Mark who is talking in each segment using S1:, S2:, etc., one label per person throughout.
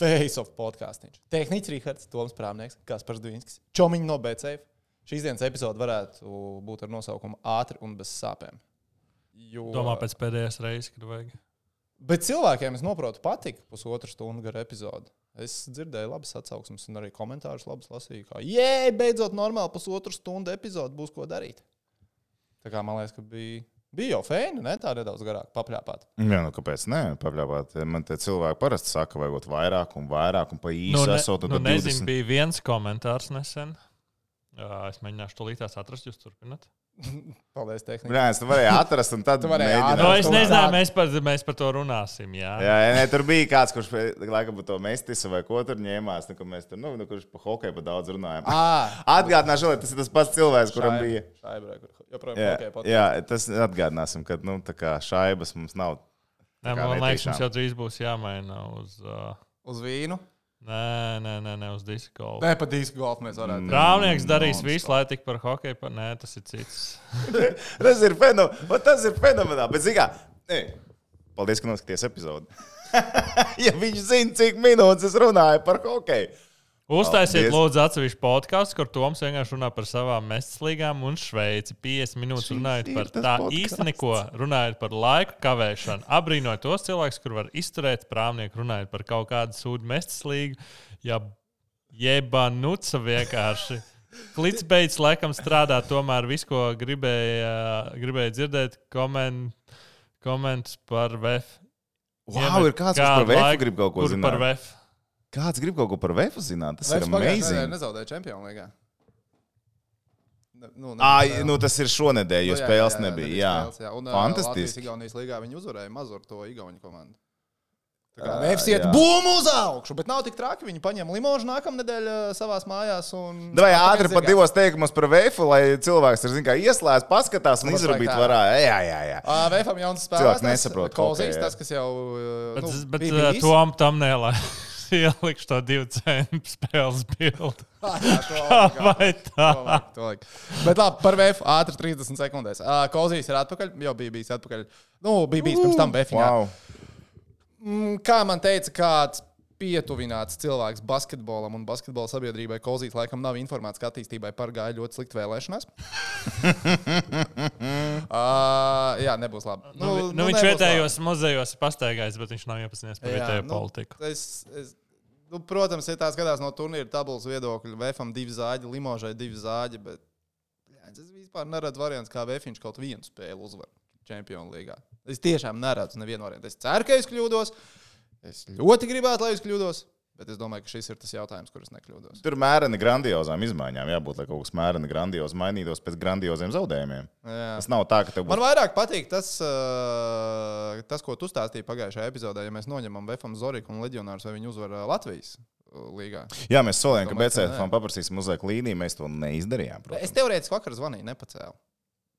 S1: Face of podkāstu. Tehnicis Rīgards, Toms Prāmnieks, Kaspars Dvīnskis, Čomiņš no Bēcēvas. Šīs dienas epizode varētu būt ar nosaukumu Ātri un bez sāpēm. Jo...
S2: Domā pēc pēdējās reizes, kad vajag.
S1: Bet cilvēkiem, es saprotu, patika pusotra stundu gara epizode. Es dzirdēju labas atsauksmes, un arī komentārus labus lasīju. Kā, Jē, beidzot, normāli pusotru stundu epizode būs ko darīt. Tā kā man liekas, ka bija, bija jau fēni, ne tā nedaudz garāk papļāpāt.
S3: Jā, nu kāpēc? Nē, pagļāvāt. Man te cilvēki parasti saka, vajag vairāk un vairāk, un pa īsu
S2: Nu,
S3: nu,
S2: ne,
S3: esot.
S2: nu, nezinu, bija viens komentārs nesen. Jā, es mēģināšu to līdzi atrast, jūs turpināt.
S1: Paldies, tehniski.
S3: Nē, es to varēju atrast, un tad
S1: Tu varēji
S3: mēģināju.
S1: atrast.
S2: Nu, es
S1: tu
S2: nezinu,
S1: vari.
S2: mēs par, mēs par to runāsim. Jā,
S3: Jā, jā nē, tur bija kāds, kurš laikam par to mestis vai ko tur ņēmās. Nu, ka mēs tur, nu, nu, kurš par hokeju pa daudz runājām.
S1: Ah,
S3: Atgādināšu, lai tas ir tas pats cilvēks, kuram bija.
S1: Tā ir brīva. Joprojām
S3: Jā,
S1: hokeja podcasts.
S3: jā, tas atgādināsim, ka nu, tā kā šaibas mums nav.
S2: Nē,
S3: kā
S2: man liekas,
S3: netīšām.
S2: mums jau drīz būs jāmaina uz. Uh,
S1: Uz vīnu.
S2: nē, nē, nē, nē uz disko.
S1: Nē, pat īsti golfu mēs varētu.
S3: Mm.
S2: Rāvnieks darīs
S3: Non-stop.
S2: visu, lai tik par hokeju. Pa... Nē, tas ir cits.
S3: Tas ir fenomenāli. Tas ir fenomenāli. Bet, zikā, nē, paldies, ka noskaties epizodi. ja viņš zina, cik minūtes es runāju par hokeju.
S2: Uztaisiet,
S3: Paldies.
S2: lūdzu, atsevišķu podkāstu, kur Toms vienkārši runā par savām mestlīgām un Šveici. 50 minūtes
S3: Šis
S2: runājot
S3: ir
S2: par
S3: tas
S2: tā
S3: podcasts.
S2: īsti neko, runājot par laiku kavēšanu. Abrīnojot tos cilvēkus, kur var izturēt prāmnieku, runājot par kaut kādu sūdu mestlīgu. Ja jeba nuca vienkārši. Klitsbeidzs laikam strādā tomēr visu, ko gribēja, gribēja dzirdēt, koment, komentus par VF.
S3: Wow, ir kāds, kas par vēju grib kaut ko
S2: kur par
S3: zināt.
S2: VF.
S3: Kāds grib kaut ko par vēju zināt? Tas
S1: Vairs
S3: ir
S1: pagājušajā nedēļā
S3: amazing.
S1: Nezaudēja čempionu līgā. Ne- Nu,
S3: Ai, nu tas ir šonadēļ, jo spēles nebija. Jā,
S1: Fantastiski.
S3: fantastiski.
S1: Igaunijas līgā viņi uzvarēja mazu ar to Igaunijas komandu.
S3: Ā,
S1: Nefsiet
S3: jā.
S1: bumbu uz augšu, bet nav tik traki. Viņi paņem limožu nākamnedēļ ā, savās mājās. un-
S3: Vai ātri
S1: Tāpēc zini,
S3: pat
S1: kā,
S3: divos teikumos par vēju, lai cilvēks ir zin kā, ieslēdz, paskatās un
S1: Labāk
S3: izrabīt
S1: tā.
S3: varā. Jā, jā, jā.
S1: ā, VFM jauns spēlētājs.
S3: Cilvēki nesaprot
S1: Kolzīs,
S3: hokeju, jā.
S1: tas, kas jau. ā,
S2: Bet,
S1: Nu,
S2: nu, bet
S1: bija
S2: uh,
S1: bijis.
S2: tom tam nelē. Ielikšu to divu centu spēles bildi.
S1: Ā, jā, to obligāti.
S2: Vai tā?
S1: To vajag, to vajag. Bet labi, par VF ātri 30 sekundēs. Uh, Kozīs ir atpakaļ, jau bija bijis atpakaļ. Nu, bija bijis pirms tam VF.
S3: Wow.
S1: Mm, kā man teica, kāds pietuvināts cilvēks basketbolam un basketbola sabiedrībai, Kozīs laikam nav informēts, ka attīstībai par gāju ļoti slikti vēlēšanās. uh, jā, nebūs labi.
S2: Nu, nu, nu, viņš
S1: nebūs
S2: vietējos muzejos ir pastaigājis, bet viņš nav iepazinies par
S1: Jā,
S2: vietējo
S1: nu,
S2: politiku.
S1: labi. Es, es, nu, protams, ja tā skatās no turnīra tabulas viedokļa, VFam divi zāģi, Limožai divi zāģi, bet jā, es vispār neredzu variants, kā VFiņš kaut vienu spēli uzvar Čempionu līgā. Es tiešām neredzu nevienu variantu. Es ceru, ka es kļūdos. Es ļoti gribētu, lai es kļūdos, bet es domāju, ka šis ir tas jautājums, kur es nekļūdos.
S3: Tur mēreni grandiozām izmaiņām jābūt, lai kaut kas mēreni grandiozi mainītos pēc grandioziem zaudējumiem.
S1: Jā.
S3: Tas nav tā, ka tev
S1: Man
S3: būtu.
S1: vairāk patīk tas, uh, tas ko tu stāstīji pagājušajā epizodē, ja mēs noņemam Vēfam Zoriku un Leģionārus, vai viņi uzvar uh, Latvijas uh, līgā.
S3: Jā, mēs solījām, ka
S1: Domāju, ka
S3: BCF
S1: nē.
S3: paprasīsim uzliek līniju, mēs to neizdarījām.
S1: Es
S3: Protams.
S1: teorētiski vakar zvanīju, nepacēlu.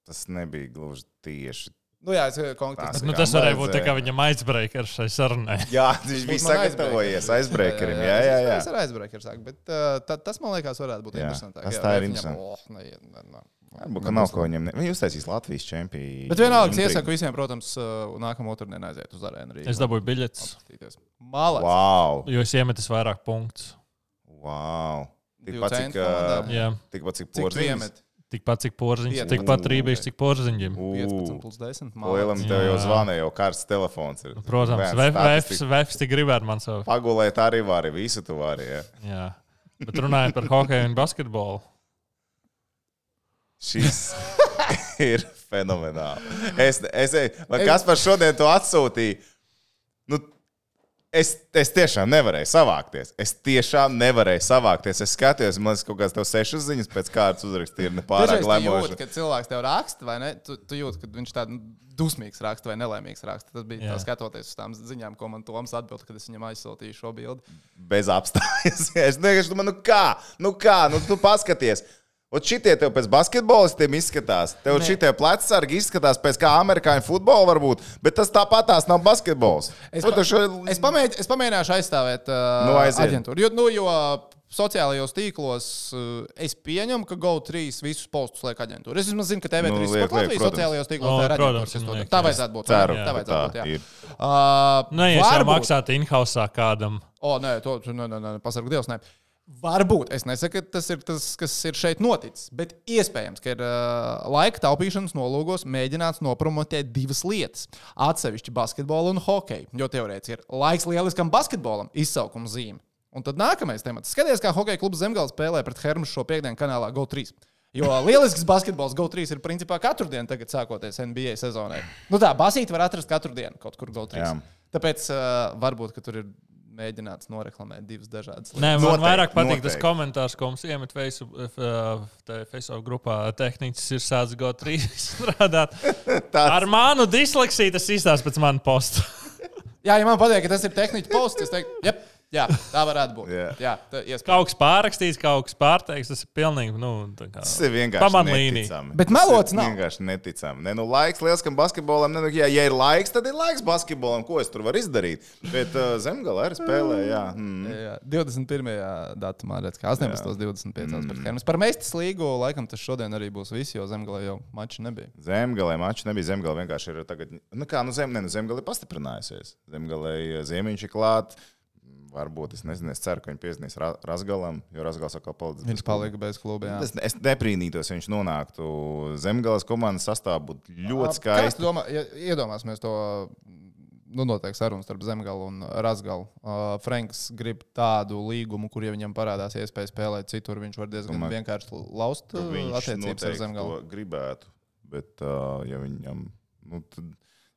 S3: Tas nebija gluži tieši.
S1: Nu, jā, es eh, konkrēti
S3: Tas
S2: Nu,
S3: kā
S2: tas varēja būt tā
S3: vajadzēja.
S2: kā viņam aizbreakers šai sarunai.
S3: Jā, viņš bija
S1: Būs man
S3: sagatavojies aizbreakerim. Jā, jā, jā.
S1: Es ar aizbraucu, sāku, bet uh, tā, tas man liekas, varētu būt
S3: Jā,
S1: interesantāk.
S3: tas
S1: Jā,
S3: tā ir
S1: bet
S3: interesanti.
S1: Viņam, oh, neiet, ne, ne,
S3: Varbūt, ka nav ko viņam. Ne... Viņš uztaisīs Latvijas čempionu.
S1: Bet vienalga, es iesaku visiem, protams, uh, nākamā otrdienā aiziet uz arēnu Rīgā.
S2: Es dabūju biļetes,
S1: Apskatīties. Malas.
S3: Wow!
S2: jo es iemetu vairāk punktus.
S3: wow.
S1: Divu
S3: Tikpat cik,
S1: centu
S3: ā,
S1: komandām.
S2: Jā,
S3: tikpat cik
S1: Cik tu
S3: porcelāna.
S1: iemet?
S2: tikpat cik porziņš,
S1: Piec-
S2: tikpat
S3: Ū,
S2: rībīšs, cik porziņš.
S1: 15 plus 10. Malas.
S3: Lielam tev
S2: Jā.
S3: jau zvana, jau karsts telefons ir.
S2: Nu, Protams,
S3: Bērns
S2: Vēfs
S3: statistika.
S2: Vēfs tik gribētu man savu.
S3: Pagulēt arī vari, visu tu vari. Ja.
S2: Jā. Bet runājot par hokeju un basketbolu.
S3: Šis ir fenomenāli. Es, es, man kas par šodien to atsūtīja? Nu, es, es tiešām nevarēju savākties. Es tiešām nevarēju savākties. Es skatījos, man liekas, kaut kādas tev sešas ziņas pēc kārtas uzrakstīja. Ne pārāk
S1: Dažreiz tu jūti,
S3: lemoši.
S1: kad cilvēks tev raksta, vai ne? Tu, tu jūti, ka viņš tāds dusmīgs raksta vai nelaimīgs raksta. Tas bija
S2: Jā.
S1: tā, skatoties uz tām ziņām, ko man Toms atbild, kad es viņam aizsūtīju šo bildi.
S3: Bez apstājas. Es vienkārši domāju, nu kā, nu kā, nu tu paskaties. Un šitie tev pēc basketbolistiem izskatās. Tev
S1: Nē.
S3: šitie plecsargi izskatās pēc kā amerikāņu futbola, varbūt, bet tas tāpat tās nav basketbols.
S1: Es
S3: Nu,
S1: pa-
S3: tu šo-
S1: Es, pamēģ, es pamēģināšu aizstāvēt uh,
S3: Nu,
S1: nu,
S3: aiziet.
S1: aģentūru. Jo, nu, jo sociālajos tīklos uh, es pieņemu, ka GO3 visus postus liek aģentūra. Es vismaz zinu, ka TV3
S3: Nu,
S1: nu, pat
S3: liek, liek,
S1: Latvijas
S3: protams.
S1: sociālajos tīklos
S2: Nu,
S1: no, ir
S2: protams,
S1: aģentūras. kas
S2: man
S1: to dara.
S2: liekas,
S1: Tā
S2: es
S1: vajadzētu būt.
S3: Ceru,
S1: jā,
S3: ka
S1: tā vajadzētu
S3: tā
S1: būt.
S3: ir.
S1: jā. Uh,
S2: Nē, Nu, ja es jau
S1: varbūt-
S2: maksātu inkausā kādam
S1: O, nē, to tu- nē, nē, nē, pasargu Dievs. Nē. Varbūt es nesaku, ka tas ir tas, kas ir šeit noticis, bet iespējams, ka ir uh, laika taupīšanas nolūgos mēģināts nopromotēt divas lietas - atsevišķi basketbolu un hokeju. Jo teorētiski ir laiks lieliskam basketbolam, izsaukuma zīme. Un tad nākamais temats. Skaties, kā hokeja klubs Zemgals spēlē pret Hermu šo piekdienu kanālā GO3. Jo lielisks basketbols GO3 ir principā katru dienu, tagad sākoties NBA sezonai. Nu tā, basīti var atrast katru dienu kaut kur GO3.
S3: Jā.
S1: Tāpēc uh, varbūt, ka tur ir mēģināts noreklamēt divas dažādas lietas.
S2: Nē, man
S3: Noteikti,
S2: noteikti, vairāk patīk noteikti. tas
S3: noteikti.
S2: komentārs, ko mums iemet Facebook grupā. Tehnicis ir sācis GO 3 strādāt.
S3: Tāds-
S2: Ar manu disleksiju tas izstāsta pēc manas posta.
S1: Jā, ja man patīk, ka tas ir tehniski posts, es teiktu, jep, jā, tā varētu būt.
S3: Jā.
S1: Jā, tā iespējams.
S2: Kaut kas pārrakstīts, kaut kas pārteiks. Tas ir pilnīgi. Nu, tā kā-
S3: Tas ir vienkārši
S2: Pamatlīnija.
S3: neticami.
S1: Bet
S3: Tas ir
S1: melots nav.
S3: Vienkārši neticami. Ne, nu, laiks lieliskam basketbolam. Ne, nu, ja, ja ir laiks, tad ir laiks basketbolam. Ko es tur varu izdarīt? Bet uh, zemgala arī spēlē. Jā, mm.
S1: Jā, 21. datumā, redz, kā 18. un 25. Mm. pret Hermes. Par meistas līgu laikam tas šodien arī būs viss, jo zemgala jau mači nebija.
S3: Zemgalē mačs nebija zemgala. Vienkārši ir tagad. Nu, kā, nu, zem, ne, nu, zemgala ir pastiprinājusies. Zemgalē uh, ziemeņš ir klāts. Varbūt es nezinu, es ceru, ka viņi piesaistīs Ra- Razgalam, jo Razgals atkal palicis. bez
S1: Viņš palika bez kluba. jā.
S3: Es, es nebrīnītos, ja viņš nonāktu zemgājas komandas sastāvā. Būtu ļoti
S1: Kā
S3: skaisti.
S1: tu domā, ja, iedomāsimies to. Nu, noteikti saruna starp Zemgalu un Rasgalu. Uh, Franks grib tādu līgumu, kur, ja viņam parādās iespēja spēlēt citur, viņš var diezgan Domā,
S3: Domāju,
S1: vienkārši laust
S3: ka
S1: uh,
S3: Viņš
S1: attiecības ar
S3: noteikti
S1: Zemgalu.
S3: to gribētu. Bet, uh, ja viņam, nu, tad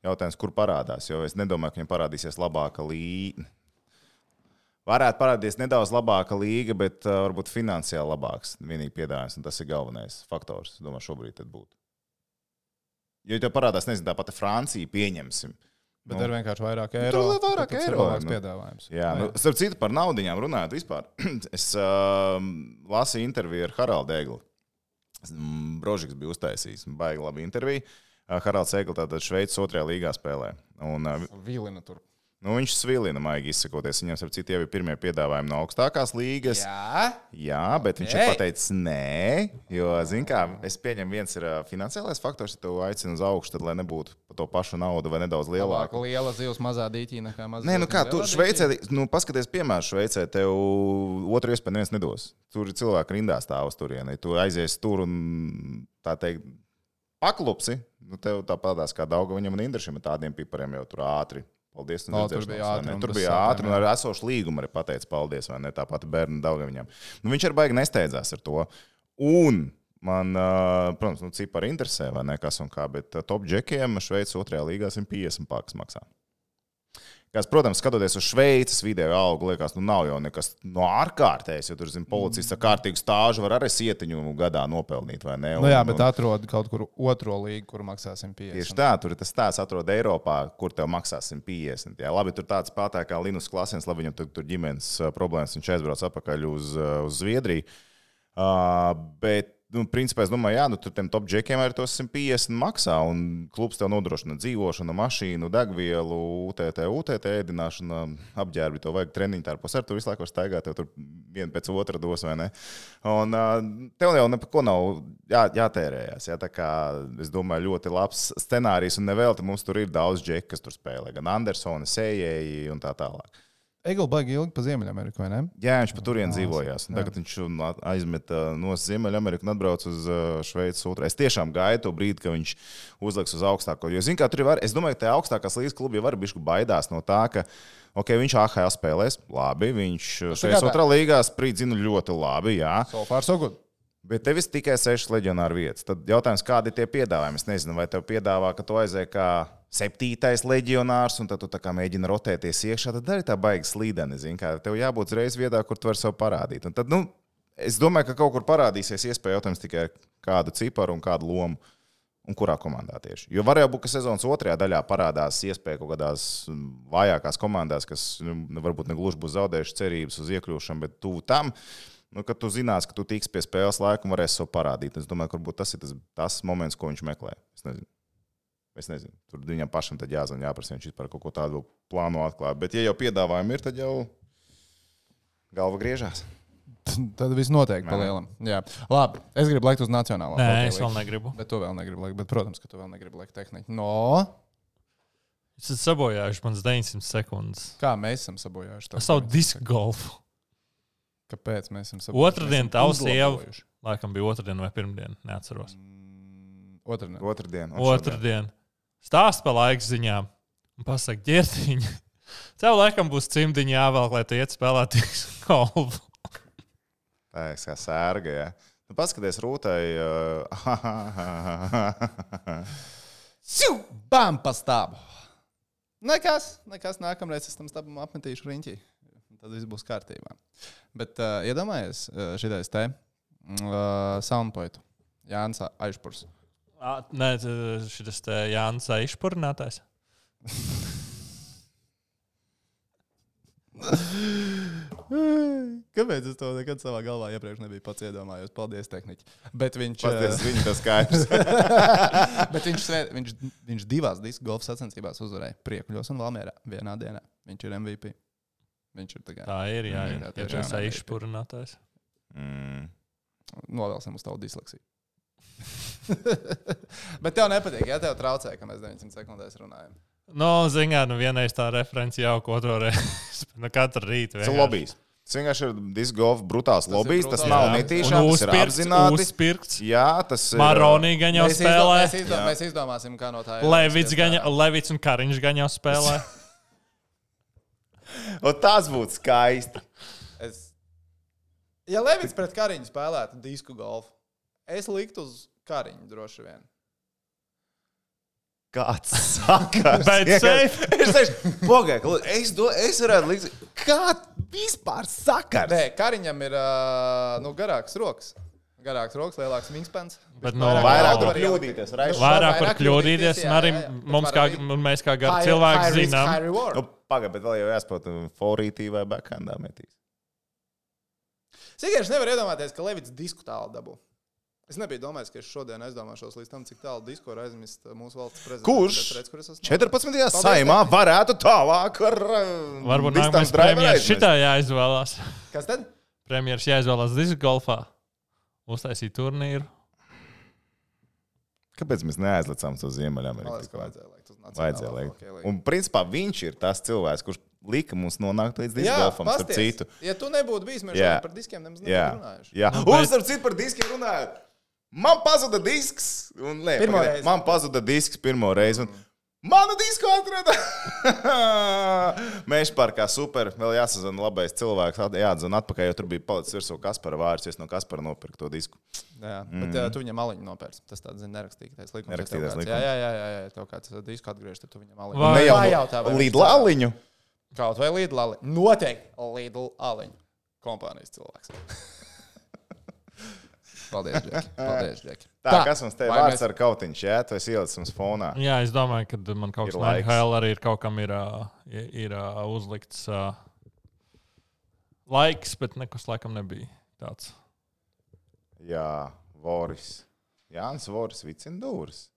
S3: jautājums, kur parādās? Jo es nedomāju, ka viņam parādīsies labāka līnija. Varētu parādīties nedaudz labāka līnija, bet uh, varbūt finansiāli labāks. Vienīgi piedāvājums, un tas ir galvenais faktors. es Domāju, šobrīd tad būtu. Jo ja tev parādās, nezinu, tā pati Francija, pieņemsim.
S1: Bet
S3: Nu.
S1: nu, ir vienkārši vairāk
S3: tur
S1: eiro.
S3: vēl vairāk
S1: tāpēc ir
S3: eiro,
S1: Labāks
S3: nu.
S1: piedāvājums.
S3: Jā, nu, starp citu, par naudaiņām runājot, vispār. es uh, lasīju interviju ar Haraldu Eglu. Mm, Brožiks bija uztaisījis, baigi labi interviju. Uh, Haralds Eglis tātad Šveices otrajā līgā spēlē. Un, uh,
S1: Vīlina tur.
S3: nu, viņš svilina, maigi izsakoties. Viņam, starp citu, jau bija pirmie piedāvājumi no augstākās līgas.
S1: Jā,
S3: Jā, bet viņš
S1: Ei!
S3: ir pateicis nē, jo, zin kā, es pieņemu, viens ir ā, finansiālais faktors, ja tu aicini uz augšu, tad lai nebūtu pa to pašu naudu vai nedaudz
S1: lielāka
S3: lielāku.
S1: liela zivs, mazā dīķīna nekā mazā.
S3: Nē, nu
S1: zivs
S3: kā
S1: un
S3: tur
S1: lielā
S3: Šveicē,
S1: dīķīna.
S3: nu, paskaties, piemēram, Šveicē, tev otru iespēju neviens nedos. Tur ir cilvēki rindā stāv uz turieni. Tu aizies tur un tā teikt, paklupsi. Nu, tev tāpatās kā Daugaviņam un Indrišam ar tādiem pipariem jau tur ātri. Paldies, un
S1: O, tur
S3: redzēšanos,
S1: bija
S3: vai
S1: ātri
S3: ne?
S1: un
S3: Tur
S1: bez
S3: bija
S1: sāpēm,
S3: ātri, un ar esošu līgumu arī pateica paldies, vai ne? Tāpat bērnu Daugaviņam. Nu, viņš arī baigi nesteidzās ar to. Un man, ā, protams, nu, cipari interesē, vai ne, kas un kā, bet ā, top džekiem Šveicē otrajā līgā 150 pakas maksā. Kas, protams, skatoties uz Šveices video augu, liekas, nu nav jau nekas no ārkārtējas, jo tur, zina, policists ar kārtīgu stāžu var arī sietiņu gadā nopelnīt, vai ne?
S1: Nu, jā,
S3: Un-
S1: bet
S3: un-
S1: atrod kaut kur otro līgu, kur maksāsim 50.
S3: Tieši tā, tur ir tas stāsts, atrod Eiropā, kur tev maksā 150. Jā, labi, tur tāds pātā kā Linus Klasens, labi, viņam tur, tur ģimenes ā, problēmas, viņš aizbrauc atpakaļ uz, ā, uz Zviedriju. Uh, bet, nu, principā, es domāju, jā, nu, tur tam top džekiem arī tos 150 maksā. Un klubs tev nodrošina dzīvošanu, mašīnu, degvielu, UTT, UTT, ēdināšanu, apģērbu. Tev vajag treniņu tārpus ar to visu laiku var staigāt, tev tur viena pēc otras dos vai ne. Un uh, tev jau neko nav jā, jātērējās. Jā, tā kā es domāju, ļoti labs scenārijs un nevelti mums tur ir daudz džeku, kas tur spēlē. Gan Andersona, Sējēji un tā tālāk.
S1: Egli baigi ilgi pa Ziemeļameriku, vai ne?
S3: Jā, viņš pat turienā dzīvojās. un Tagad viņš un at- aizmeta no Ziemeļamerikas un atbrauca uz uh, Šveices otru. Es tiešām gaidu to brīdi, kad viņš uzliks uz augstāko. Jo, zin, kā, tur jau var, es domāju, ka tā augstākās līnijas klubi jau var būt baidās no tā, ka okay, viņš AHL spēlēs labi, viņš
S1: tā
S3: uh,
S1: kā
S3: Šveices
S1: tā.
S3: otrā līgā spridzina ļoti labi. Jā.
S1: So far, so good.
S3: Bet tev ir tikai sešas leģionāra vietas. Tad jautājums, kādi ir tie piedāvājumi? Es nezinu, vai tev piedāvā, ka tu aizēji kā septītais leģionārs, un tad tu tā kā mēģini rotēties iekšā. Tad arī tā baigas slīdeni, zini, kā tev jābūt reizes vietā, kur tu vari sev parādīt. Un tad, nu, es domāju, ka kaut kur parādīsies iespēja jautājums tikai kādu ciparu un kādu lomu. Un kurā komandā tieši? Jo var jau būt, ka sezonas otrajā daļā parādās iespēja kaut kādās mm, vājākās komandās, kas nu, varbūt ne gluži būs zaudējušas cerības uz iekļūšanu, bet tuvu tam, nu, ka tu zinās, ka tu tiks pie spēles laika un varēsi to parādīt. Es domāju, ka varbūt tas ir tas, tas moments, ko viņš meklē. Es nezinu. Es nezinu. Tur viņam pašam tad jāzvan, jāprasa, viņš vispār kaut ko tādu vēl plāno atklāt. Bet, ja jau piedāvājumi ir, tad jau galva griežās.
S1: Tad viss noteikti pa lielam. Jā, labi. Es gribu likt uz nacionālā.
S2: Nē,
S1: hokeja
S2: es vēl
S1: līgu.
S2: negribu.
S1: Bet to vēl negribu likt. Bet, protams, ka tu vēl negribi likt tehniku. No.
S2: Es esmu sabojājis mans 900 sekundes.
S1: Kā mēs esam sabojājuši
S2: Ar
S1: tavu
S2: savu
S1: komentāru?
S2: disku golfu.
S1: Kāpēc mēs esam Mēs
S2: Otradien
S1: esam
S2: tavs sieva-
S1: uzlabojuši.
S2: Laikam bija otrdien vai pirmdien, neatceros.
S1: Mm, Otradien.
S3: Otradien. un šodien.
S2: Otradien. Stāst par laika ziņām. Un pasaka, ģērtiņa. Tev laikam būs cimdiņa jāvelk, lai tu iet spēlēt disku golfu.
S3: Tā ir kā sērga. Ja. Nu, paskaties, rūtai. Uh,
S1: Siu! Bam! Pastāv! Nekas, nekas. Nākamreiz es tam stāvam apmetīšu riņķī. Tad viss būs kārtībā. Bet uh, iedomājies, uh, šitais te uh, soundpointu. Jānis Aišpurs.
S2: Ā, Nē, t- šis te Jānis Aišpurnātais.
S1: Kāpēc es to nekad savā galvā iepriekš nebiju pats iedomājies? Paldies, tehniķi. Bet viņš,
S3: Paskaties,
S1: uh,
S3: viņa tas skaidrs.
S1: bet viņš, svē- viņš, viņš divās disku golfa sacensībās uzvarēja Priekļos un Valmērā vienā dienā. Viņš ir MVP. Viņš ir tagad.
S2: Tā ir, jā,
S1: Mm,
S2: ir.
S1: tā
S2: Jā,
S1: tiešām ir.
S2: Jānis Aišpurnātais.
S3: Mm.
S1: novēlsim uz tavu disleksiju. Bet tev nepatīk, ja tev traucē, ka mēs 900 sekundēs runājam.
S2: No, zinām, nu vienreiz tā referenci jau otru reizi. Nu, katru rītu.
S3: Tas ir
S2: vienkārši.
S3: lobijs. Tas vienkārši ir disgolfa brutāls
S1: ir
S3: lobijs. Tas
S1: brutāls.
S3: nav
S1: Jā.
S3: netīšām, tas ir apzināti.
S2: Uzpirkts.
S3: Jā, tas ir.
S2: Maronī gan jau
S1: Mēs,
S2: spēlē.
S1: izdomā, mēs, izdomā,
S3: Jā.
S1: mēs izdomāsim, kā no tā ir.
S2: Levits, gan, jau- Levits un Kariņš gan jau spēlē.
S3: Un tas būtu skaisti.
S1: Es... Ja Levits pret Kariņu spēlētu disku golfu, es liktu uz Kariņu droši vien.
S3: Kāds saka,
S2: Bet safe.
S3: es teikšu, pagaidi, es, do- es varētu likt, kā vispār sakars.
S1: Nē, Kariņam ir ā, nu, garāks rokas. Garāks rokas, lielāks wingspans.
S2: Bet
S1: Viņš
S2: no-
S3: Vairāk
S1: var ielikt.
S3: var kļūdīties, raišs.
S2: Vairāk
S1: Vairāk
S2: var kļūdīties,
S1: kļūdīties,
S2: un
S1: jā,
S2: arī
S1: jā, jā.
S2: mums, kā,
S1: Vairāk-
S2: un mēs kā gari
S1: High-
S2: cilvēki,
S1: high risk, high
S2: zinām,
S1: reward.
S3: Nu, Pagaidi, bet vēl jau jāspēlē forītī vai backhandā metīs.
S1: Es vienkārši nevaru iedomāties, ka Levits disku tālu dabū. Es nebiju domājis, ka es šodien aizdomāšos līdz tam, cik tālu disku var aizmest mūsu valsts prezidents.
S3: Kurš?
S1: Bet redz, kur es esmu?
S3: 14.
S1: Paldies,
S3: saimā varētu tālāk ar um,
S2: varbūt nākamais premjeras šitā jāizvēlās.
S1: Kas tad?
S2: Premjeras jāizvēlās disku golfā. Uztaisīt turnīru.
S3: Kāpēc mēs neaizlecām
S1: Man liekas,
S3: to
S1: ka
S3: Ziemeļameriku?
S1: vajadzēja likt uz nacionālo
S3: Vajadzēja likt.
S1: hokeja līniju.
S3: Un principā viņš ir tas cilvēks, kurš lika mums nonākt līdz disgolfam, starp
S1: pasties.
S3: citu.
S1: Ja tu nebūtu bijis, mēs
S3: Jā.
S1: šodien par diskiem nemaz
S3: Jā,
S1: nebūtu runājuši.
S3: jā.
S2: Nu,
S3: un
S2: bet-
S3: starp citu par diskiem runājot. Man pazuda disks, un nē,
S1: Pirmo
S3: pagaidi,
S1: reizi.
S3: man pazuda disks pirmo reizi. Un... Manu disku atrada! Mēs parkā super, vēl jāsazina labais cilvēks, at- jāatzina atpakaļ, jo tur bija palicis virsū Kaspara vārds, es no Kaspara nopirku to disku.
S1: Jā, bet mm. tu viņam aliņu nopērci. Tas tāds zin, nerakstītais likums. ja tev
S3: Nerakstītais
S1: kāds- Jā,
S3: likums.
S1: jā, jā, jā, jā. ja Tev kāds uh, disku atgriež, tad tu viņam aliņu.
S2: Vai-
S1: Nu,
S2: Ne
S3: jau
S1: pajautā vai viņš
S3: Lidla
S1: tā-
S3: aliņu.
S1: Kaut vai Lidl aliņu. Noteikti Lidl aliņu. Kompānijas cilvēks. Paldies, Džek. Paldies, Džek.
S3: Tā, tā, kas mums te ir
S1: vai
S3: vārds mēs... ar kautiņš, jā, tu esi ielicis mums fonā.
S2: Jā, es domāju, ka man kaut
S3: Ir
S2: kas no
S3: laiks.
S2: NHL arī ir kaut kam ir, ā, i- ir ā, uzlikts ā, laiks, bet nekas laikam nebija tāds.
S3: Jā, Voris. Jānis Voris Vicindūrs.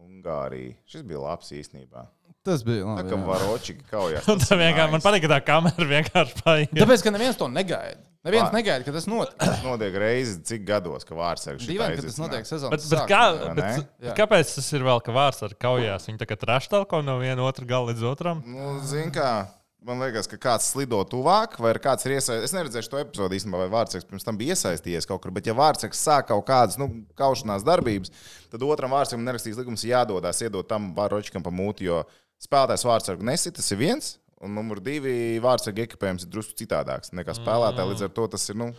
S3: Ungārija. Šis bija labs īstenībā.
S1: Tas bija
S3: Tā
S1: labi.
S3: kā varočīgi kaujās.
S2: Un
S3: tas
S2: tā
S3: ir
S2: vienkārši man
S3: nice.
S2: patīk, ka tā kamera vienkārši paiet.
S1: Tāpēc, ka neviens to negaida. Neviens
S3: Vai.
S1: negaida, ka tas notiek.
S3: Tas notiek reizi, cik gados, ka vārds ir
S1: Dīvaini, ka tas notiek sezonas
S2: Bet, bet, kā,
S1: sākumā.
S3: vai
S2: bet,
S3: ne?
S2: bet
S1: Jā.
S2: kāpēc tas ir vēl kā vārds ar kaujās? Viņi tā kā traštalko no viena otra gala līdz otram.
S3: Nu, zin kā. Man liekas, ka kāds slido tuvāk, vai ir kāds ir iesaistīts. Es neredzēju to episodu īstenībā, vai Vārtseks pirms tam bija iesaistījies kaut kur. Bet, ja Vārtseks sāk kaut kādas nu, kaušanās darbības, tad otram Vārtsekam nerakstīs likums jādodas, iedot tam Vārtsekam pa mūti, jo spēlētājs Vārtsargu nesit, tas ir viens. Un numur divi Vārtsargu ekipējums ir drusku citādāks nekā spēlētāji.
S2: Mm.
S3: Līdz ar to tas ir, nu,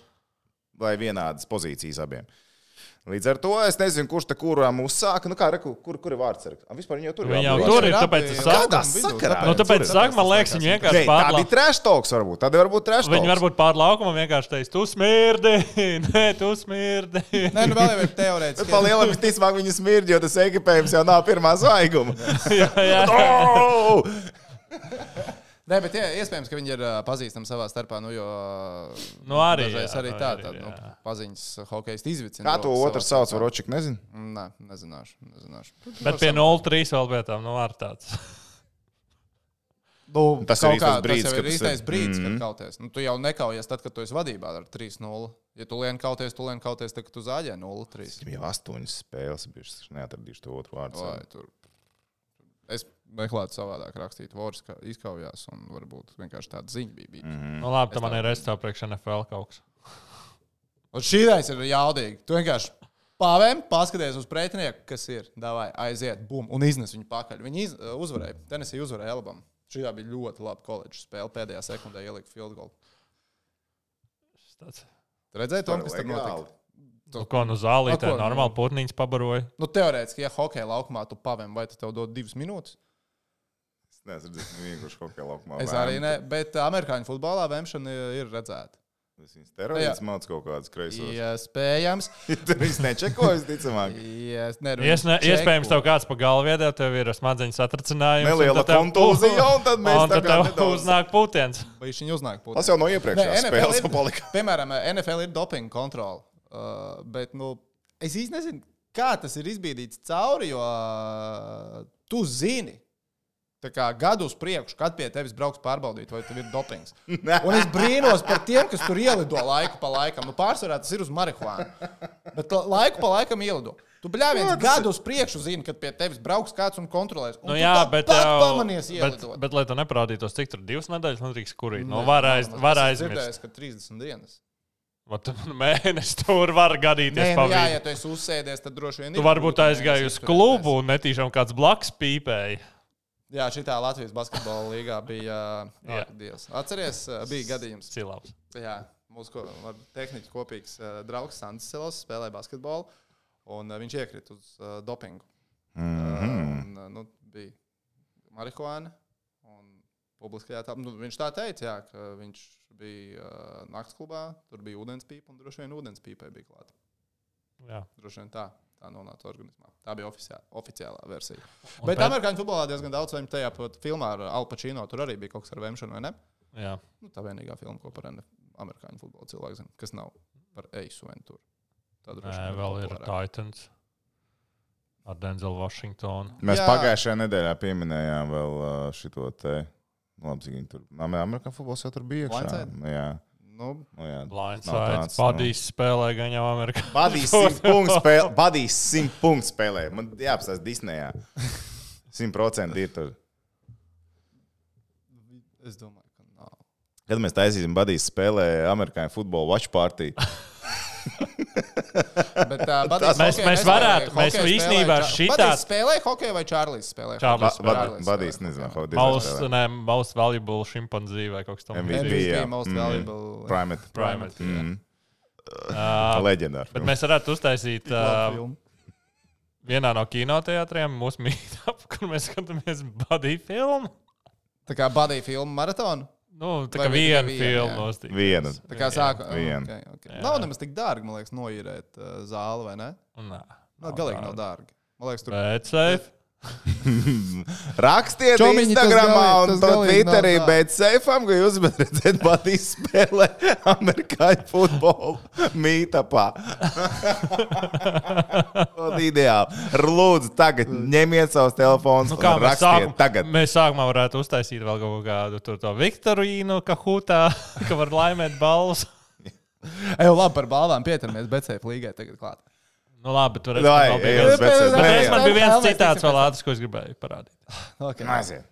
S3: lai vienādas pozīcijas abiem. Līdz ar to es nezinu, kurš te kurām uzsāka. Nu, kā, re, kur, kur, kur ir Vārtsargs? Ah, Vispār jau tur
S2: Viņi jau
S3: jābūt.
S2: tur ir, tāpēc es saku.
S3: Kādā sakarā?
S2: Nu, tāpēc
S1: Tāpēc
S2: sāk, man
S1: tas
S2: liekas,
S1: liekas,
S2: viņi
S3: Džei,
S2: vienkārši
S3: Tā bija
S2: pārlauka.
S3: trash talks, varbūt. Tad varbūt trash talks.
S2: Viņi varbūt pārlaukumā vienkārši teica, tu smirdi, nē, tu smirdi.
S1: Nē, nu vēl jau ir
S3: Bet
S1: teorētiski.
S3: pa lielam visticamāk viņi smirdz, jo tas ekipējums jau nav pirmā svaiguma.
S2: jā, jā.
S3: Oh!
S1: Nē, bet jā, iespējams, ka viņi ir ā, pazīstami savā starpā. Nu, jo, ā,
S2: Nu, arī,
S1: dažreiz
S2: jā,
S1: arī
S2: nu,
S1: tā,
S2: arī,
S1: tā nu,
S2: jā.
S1: paziņas hokeja izvicina.
S3: Kā to otru sauc, Ročik, nezinu.
S1: Nē, nezināšu. nezināšu.
S2: Bet pie 0-3 vēl vietām, nu, ar tāds.
S1: Nu,
S3: Tas ir
S1: kaut
S3: īstais
S1: kā-
S3: brīdis,
S1: tas jau
S3: kad
S1: ir
S3: tas ir-
S1: īstais brīdis, kad
S3: Mhm.
S1: kauties. Nu, tu jau nekaujies tad, kad tu esi vadībā ar 3-0. Ja tu lien kauties, tu lien kauties, tad, kad tu zāģē 0-3.
S3: Viņam jau astoņas spēles, bet es neatradīšu to otru vārdu.
S1: Vai, tur. Es meklētu savādāk rakstīt, vārds kā izkaujās, un varbūt vienkārši tāda ziņa bija. bija. Mm.
S2: Nu, labi,
S1: Es
S2: tam man
S1: tā-
S2: ir restorāns priekš NFL kaut kas.
S1: Un šī daļa ir jaudīga. Tu vienkārši pavēm, paskaties uz pretinieku, kas ir, davai, aiziet, bum, un iznes viņu pakaļ. Viņi iz, eh, uzvarēja, Tenisija uzvarēja Elabam. Šī bija ļoti laba koledžas spēle. Pēdējā sekundē ielika field goal.
S2: Tāds.
S1: Tu Redzēji, Tom, kas tur notika?
S2: Nu, ko nu zālī,
S1: Nu,
S2: tā
S1: ko, nu?
S2: normāli putniņas pabaroja.
S1: Nu, teorētiski, ja hokeja laukumā tu pavēm, vai tu tev dod divas minūtes?
S3: Es nezinu, tas ir vienkārši kaut kā laukumā.
S1: Es arī ne, bet eh, amerikāņu futbolā vēmšana ir redzēta.
S3: Tas viņas terorizēs, māc kaut kādas kreisos.
S1: Iespējams,
S3: Viņš nečekoja, visticamāk.
S1: Ies, ne, nu,
S2: Iesne,
S1: viņš
S2: iespējams,
S1: čeko.
S2: tev kāds pa galvu iedod, tev ir smadzeņu satricinājums. un tad
S3: Neliela
S2: tev-
S3: kontūzija, un tad mēs
S2: Un
S3: tā
S2: tad
S3: kā
S2: tev
S3: nedaudz-
S2: uznāk pūtiens.
S1: Vai viņš uznāk pūlī?
S3: Tas jau no iepriekšējās spēles
S1: ir,
S3: palika.
S1: piemēram, eh, NFL ir dopinga kontrole. Uh, bet nu, es īsti nezinu, kā tas ir izbīdīts cauri, jo uh, tu zini. tā Kā, gadu uz priekšu, kad pie tevis brauks pārbaudīt, vai tev ir dopings. Un es brīnos par tiem, kas tur ielido laiku pa laikam. Nu, pārsvarā tas ir uz marihuānu. Bet la- laiku pa laikam ielido. Tu bļāvies gadu uz priekšu, zini, kad pie tevis brauks kāds un kontrolēs. Un
S2: Nu,
S1: tu
S2: jā,
S1: tāpat
S2: bet, tev,
S1: pamanies
S2: bet,
S1: ielidot.
S2: bet, lai tu neparādītos, cik tur divas nedēļas nedrīkst kurīt. Nu, var, aiz, var
S1: Es esmu
S2: aizmirst.
S1: dzirdējis, ka 30 dienas.
S2: Vat, nu, Mēnesis tur var
S1: Nē, nu, jā,
S2: gadīties pavisam.
S1: ja tu esi uzsēdies, tad droši vien.
S2: Tu
S1: ir
S2: varbūt
S1: grūti
S2: aizgāji
S1: mēnesi
S2: uz
S1: izturēties.
S2: klubu un netīšām kāds blakus pīpēja.
S1: Jā, šī tā Latvijas basketbola līnija bija. Jā,
S2: Jā.
S1: Dievs. Atceries, ā, bija gadījums.
S2: Cilvēks.
S1: Jā, mūsu ko- ar tehniķu kopīgs ā, draugs Sandis Silos spēlēja basketbolu, un ā, viņš iekrita uz ā, dopingu. Ā, Un, ā, nu, bija marihuāna. un Publiskajā tā, nu, viņš tā teica, jā, ka viņš bija uh, naktsklubā, tur bija ūdenspīpa un droši vien ūdenspīpai bija klāta.
S2: Jā.
S1: Droši vien tā, tā nonāca organismā. Tā bija oficiā, oficiālā versija.
S2: Un
S1: Bet
S2: pēc-
S1: amerikāņu futbolā diezgan daudz viņu tajā pat filmā ar Al Pacino. Tur arī bija kaut kas ar vēmšanu, vai ne?
S2: jā.
S1: Nu, tā vienīgā filma, ko par NF amerikāņu futbolu cilvēku zina, kas nav par Eisu Venturu. Tā droši
S2: Nē,
S1: vien
S2: vēl ir
S1: populārāka.
S2: Titans ar Denzelu Vašingtonu.
S3: Mēs
S1: Jā.
S3: Jā. pagājušajā nedēļā pieminējām vēl ā, šito te. nu, Labi, cik viņi tur. Amerikāņu futbols jau tur bija. iekšā.
S1: Blindside?
S3: Nu Jā,
S1: Nu,
S3: nu jā.
S2: Blindsides,
S3: tāds, nu.
S2: Padīs spēlē gan jau Amerikā.
S3: Badīs simt punktu spēlē. Badīs simt punktu spēlē. Man jāapstāsta Disneyā. Simt procenti ir tur.
S1: es domāju, ka nav.
S3: Kad mēs taisīsim Badīs spēlē amerikāņu futbola watch party,
S1: Bet, uh, Badis,
S2: Mēs-
S1: hokeju
S2: mēs
S1: nespēlēja.
S2: varētu, mēs
S1: Hokeju
S2: īstenībā
S1: spēlēja Ča-
S2: šitā-
S1: Badis spēlēja hokeju vai Čārlis spēlēja?
S2: Čārlis
S3: Ba-
S1: hokeju?
S2: spēlē.
S3: Bad- Badīs nezinu,
S1: spēlēja.
S3: kā
S2: Most,
S3: Disney.
S2: nē, most valuable šimpanzī vai kaut kas tamlīdzīgs.
S3: MVP, jā.
S1: MVP, most
S3: Mm,
S1: valuable.
S3: Primate.
S2: Primate, jā.
S3: Mm.
S2: Ā,
S3: Leģendārs.
S2: Bet mēs varētu uztaisīt
S1: Labi,
S2: uh,
S1: filma.
S2: vienā no kinoteātriem mūsu mītāpu, kur mēs skatāmies Buddy filmu.
S1: Tā kā Badija filmu maratonu.
S2: Nu, tā
S1: Vai
S2: kā
S1: bija
S2: viena
S1: tikai viena, jā?
S2: filma nostīta.
S3: Viena.
S1: Tā kā sākumā
S3: Vienu.
S1: okay, okay.
S2: Jā.
S1: nav nemaz tik dārgi, man liekas, noīrēt uh, zāli, vai ne?
S2: Nā,
S1: Nav Nu, galīgi nav dārgi. Man liekas, tur
S2: Bet safe.
S3: Rakstiet
S1: Čomiņi, tas
S3: Instagram
S1: galīgi-
S3: un
S1: tas galīgi nav
S3: Twitterī,
S1: tā.
S3: bet seifam, ka jūs varat redzēt, Batīs spēlē amerikāņu futbolu mītapā. Un Ideāli. Lūdzu, tagad ņemiet savus telefonus
S2: Nu,
S3: un
S2: kā mēs
S3: rakstiet
S2: sākumā,
S3: tagad.
S2: mēs sākumā varētu uztaisīt vēl kaut kādu tur to Viktorīnu, ka hūtā, ka var laimēt balvas.
S1: Ej, labi, par balvām pieturamies, bet ceļā līgai tagad klāt.
S2: Nu, labi, bet tur
S3: Vai, ej uz BCS. Nē,
S2: Reiz man
S1: jā. Vēl
S2: bija viens
S1: mēs
S2: citāts
S1: tiksim
S2: vēl ātrs, ko es gribēju parādīt.
S1: Okay.
S3: Maziet.